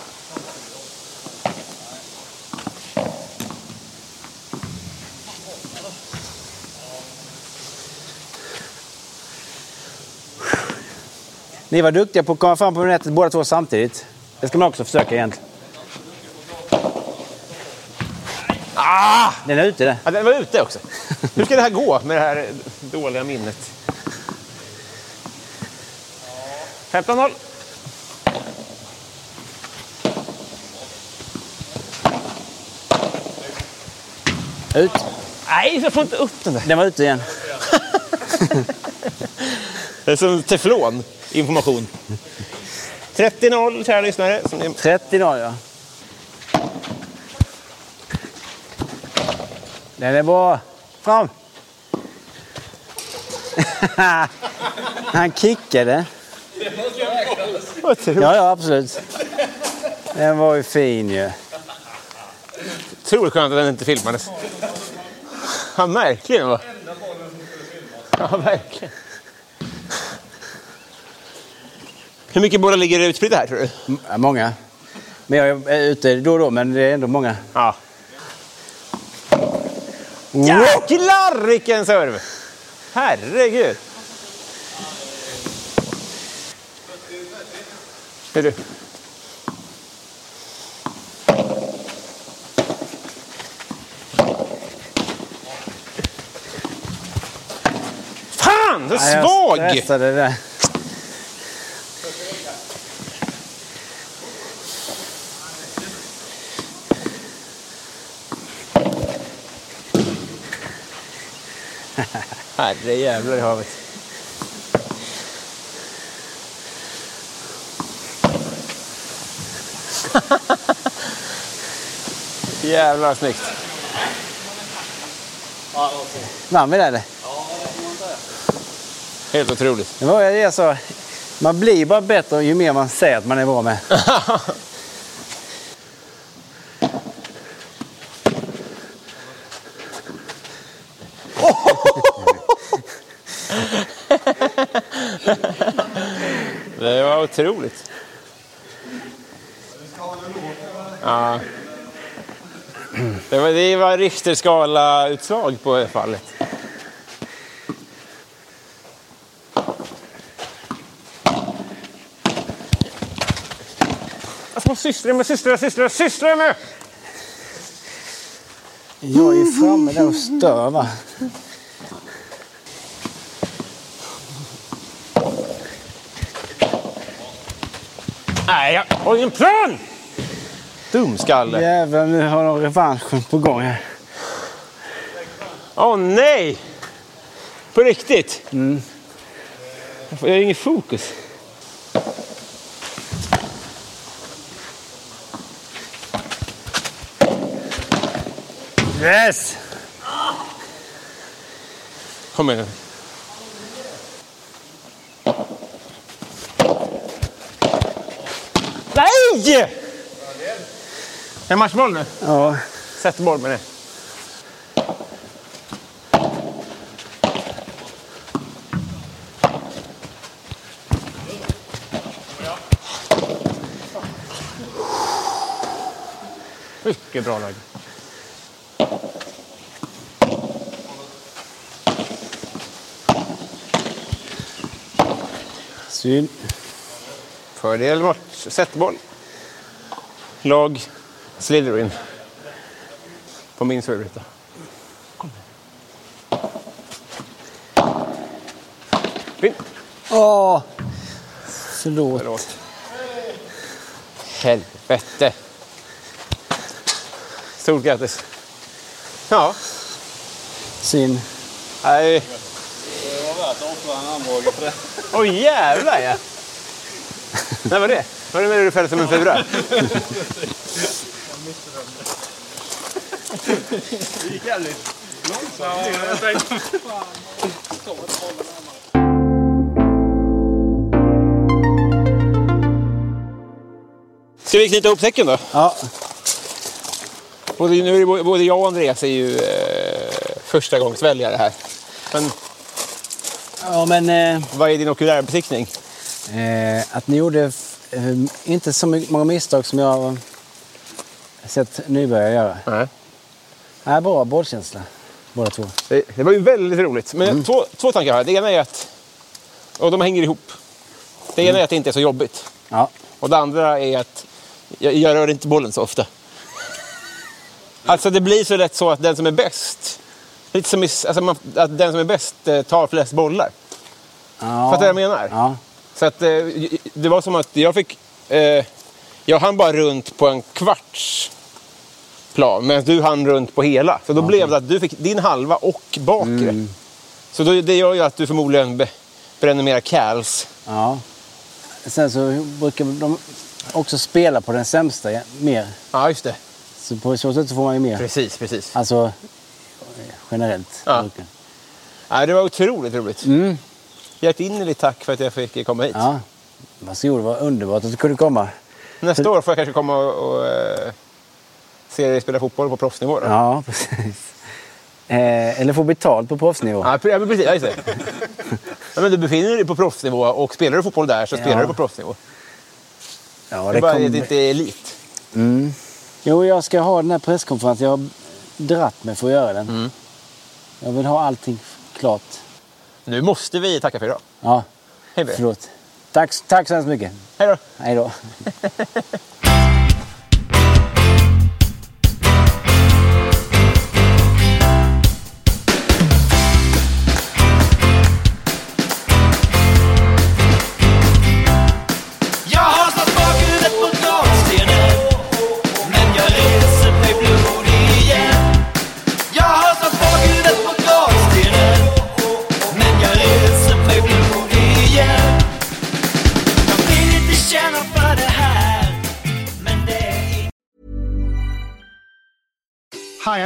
[SPEAKER 3] Ni var duktiga på att komma fram på nätet båda två samtidigt. Det ska man också försöka egentligen.
[SPEAKER 2] Ah!
[SPEAKER 3] Den är ute där.
[SPEAKER 2] Ja, den var ute också. Hur ska det här gå med det här dåliga minnet? 15-0.
[SPEAKER 3] Ut.
[SPEAKER 2] Nej, jag får inte upp den där.
[SPEAKER 3] Den var ute igen.
[SPEAKER 2] Det är som teflon information. 30-0, kära lyssnare. Som ni...
[SPEAKER 3] 30 dagar, ja. Den är bra. Fram! Han kickade. Ja, ja, absolut. Den var ju fin ju.
[SPEAKER 2] Otroligt skönt att den inte filmades. Ja, verkligen. Va? Ja, verkligen. Hur mycket bollar ligger det utspridda här, tror du?
[SPEAKER 3] Ja, många. Men jag är ute då och då, men det är ändå många.
[SPEAKER 2] Ja. Jäklar vilken serv! Herregud! Det är du. Fan, så
[SPEAKER 3] Ja, jag
[SPEAKER 2] svag!
[SPEAKER 3] stressade det där.
[SPEAKER 2] Herrejävlar i havet. Jävlar vad snyggt.
[SPEAKER 3] Vann vi där eller?
[SPEAKER 2] Helt otroligt.
[SPEAKER 3] Det var det jag sa. Man blir bara bättre ju mer man säger att man är bra med.
[SPEAKER 2] Det var otroligt. Ja. Det var, det var Richterskala-utslag på det fallet. Alltså, vad sysslar du med? Sysslar du sysslar du- sysslar du med?
[SPEAKER 3] Jag är framme där och stör va.
[SPEAKER 2] Nej, jag har ingen plan! Dumskalle. Åh
[SPEAKER 3] Jävlar, nu har de revanschen på gång här.
[SPEAKER 2] nej! På riktigt? Jag får- Jag har ingen fokus.
[SPEAKER 3] Yes!
[SPEAKER 2] Kom igen nu. Nej! Är det matchboll nu?
[SPEAKER 3] Ja,
[SPEAKER 2] Sätt boll med det. Mycket bra läge.
[SPEAKER 3] syn.
[SPEAKER 2] Fördel bort. Sätt boll. Lag Slytherin. På min servruta. Fint.
[SPEAKER 3] Åh! Förlåt.
[SPEAKER 2] Förlåt. Helvete. Stort grattis. Ja,
[SPEAKER 3] Syn.
[SPEAKER 2] nej.
[SPEAKER 4] Det var värt att offra en armbåge för det.
[SPEAKER 2] Åh jävlar ja. Nej, vad är det? Vad är det med det du fällde som en fura? Ska vi knyta ihop säcken då?
[SPEAKER 3] Ja,
[SPEAKER 2] Både, nu är det, både- både jag och Andreas är ju eh, första gångs väljare här. Men
[SPEAKER 3] ja men... Eh,
[SPEAKER 2] vad är din okulärbesiktning?
[SPEAKER 3] eh, att ni gjorde f- eh, inte så my- många misstag som jag har sett nybörjare göra.
[SPEAKER 2] Nej.
[SPEAKER 3] Nej, bra bollkänsla. Båda två.
[SPEAKER 2] Det, det var ju väldigt roligt. Mm. Men två, två tankar har jag. Det ena är att... Och de hänger ihop. Det ena är att det inte är så jobbigt.
[SPEAKER 3] Ja.
[SPEAKER 2] Och det andra är att jag, jag rör inte bollen så ofta. Alltså det blir så lätt så att den som är bäst... Lite som i, s- alltså man, att den som är bäst eh, tar flest bollar. Fattar
[SPEAKER 3] ja.
[SPEAKER 2] du vad jag menar?
[SPEAKER 3] Ja.
[SPEAKER 2] Så att, eh, det var som att jag fick... Eh, jag hann bara runt på en kvarts plan medan du hann runt på hela. Så då blev det att du fick din halva och bakre. Så då, det gör ju att du förmodligen be, prenumerera Cals.
[SPEAKER 3] Ja. Sen så brukar de också spela på den sämsta ja, mer.
[SPEAKER 2] Ja, just det.
[SPEAKER 3] Så på så sätt så får man ju mer.
[SPEAKER 2] Precis, precis.
[SPEAKER 3] Alltså eh, generellt.
[SPEAKER 2] Ja.
[SPEAKER 3] brukar-
[SPEAKER 2] Ja, det var otroligt roligt.
[SPEAKER 3] Mm.
[SPEAKER 2] Hjärtinnerligt tack för att jag fick komma hit.
[SPEAKER 3] ja. Varsågod, vad underbart att du kunde komma.
[SPEAKER 2] Nästa år får jag kanske komma och, och eh, se dig spela fotboll på proffsnivå. Då.
[SPEAKER 3] Ja, precis. Eh, eller få betalt på proffsnivå.
[SPEAKER 2] Ja, pre- ja, men precis. Ja, just det. ja, men du befinner dig på proffsnivå och spelar du fotboll där så spelar
[SPEAKER 3] Ja.
[SPEAKER 2] du på proffsnivå.
[SPEAKER 3] Ja,
[SPEAKER 2] Det är bara
[SPEAKER 3] kommer-
[SPEAKER 2] att det inte är elit.
[SPEAKER 3] Mm. Jo, jag ska ha den här presskonferensen. Jag har dratt mig för att göra den.
[SPEAKER 2] Mm.
[SPEAKER 3] Jag vill ha allting klart.
[SPEAKER 2] Nu måste vi tacka för idag.
[SPEAKER 3] Ja,
[SPEAKER 2] Hej med er.
[SPEAKER 3] förlåt. Tack, tack så hemskt mycket.
[SPEAKER 2] Hej då.
[SPEAKER 3] Hej då.
[SPEAKER 6] Jag har satt bakhuvudet på gatstenen Men jag reser mig blodig igen Jag har satt bakhuvudet på gatstenen Men jag reser mig blodig igen Jag vill inte känna för det här Men det är
[SPEAKER 7] Hi,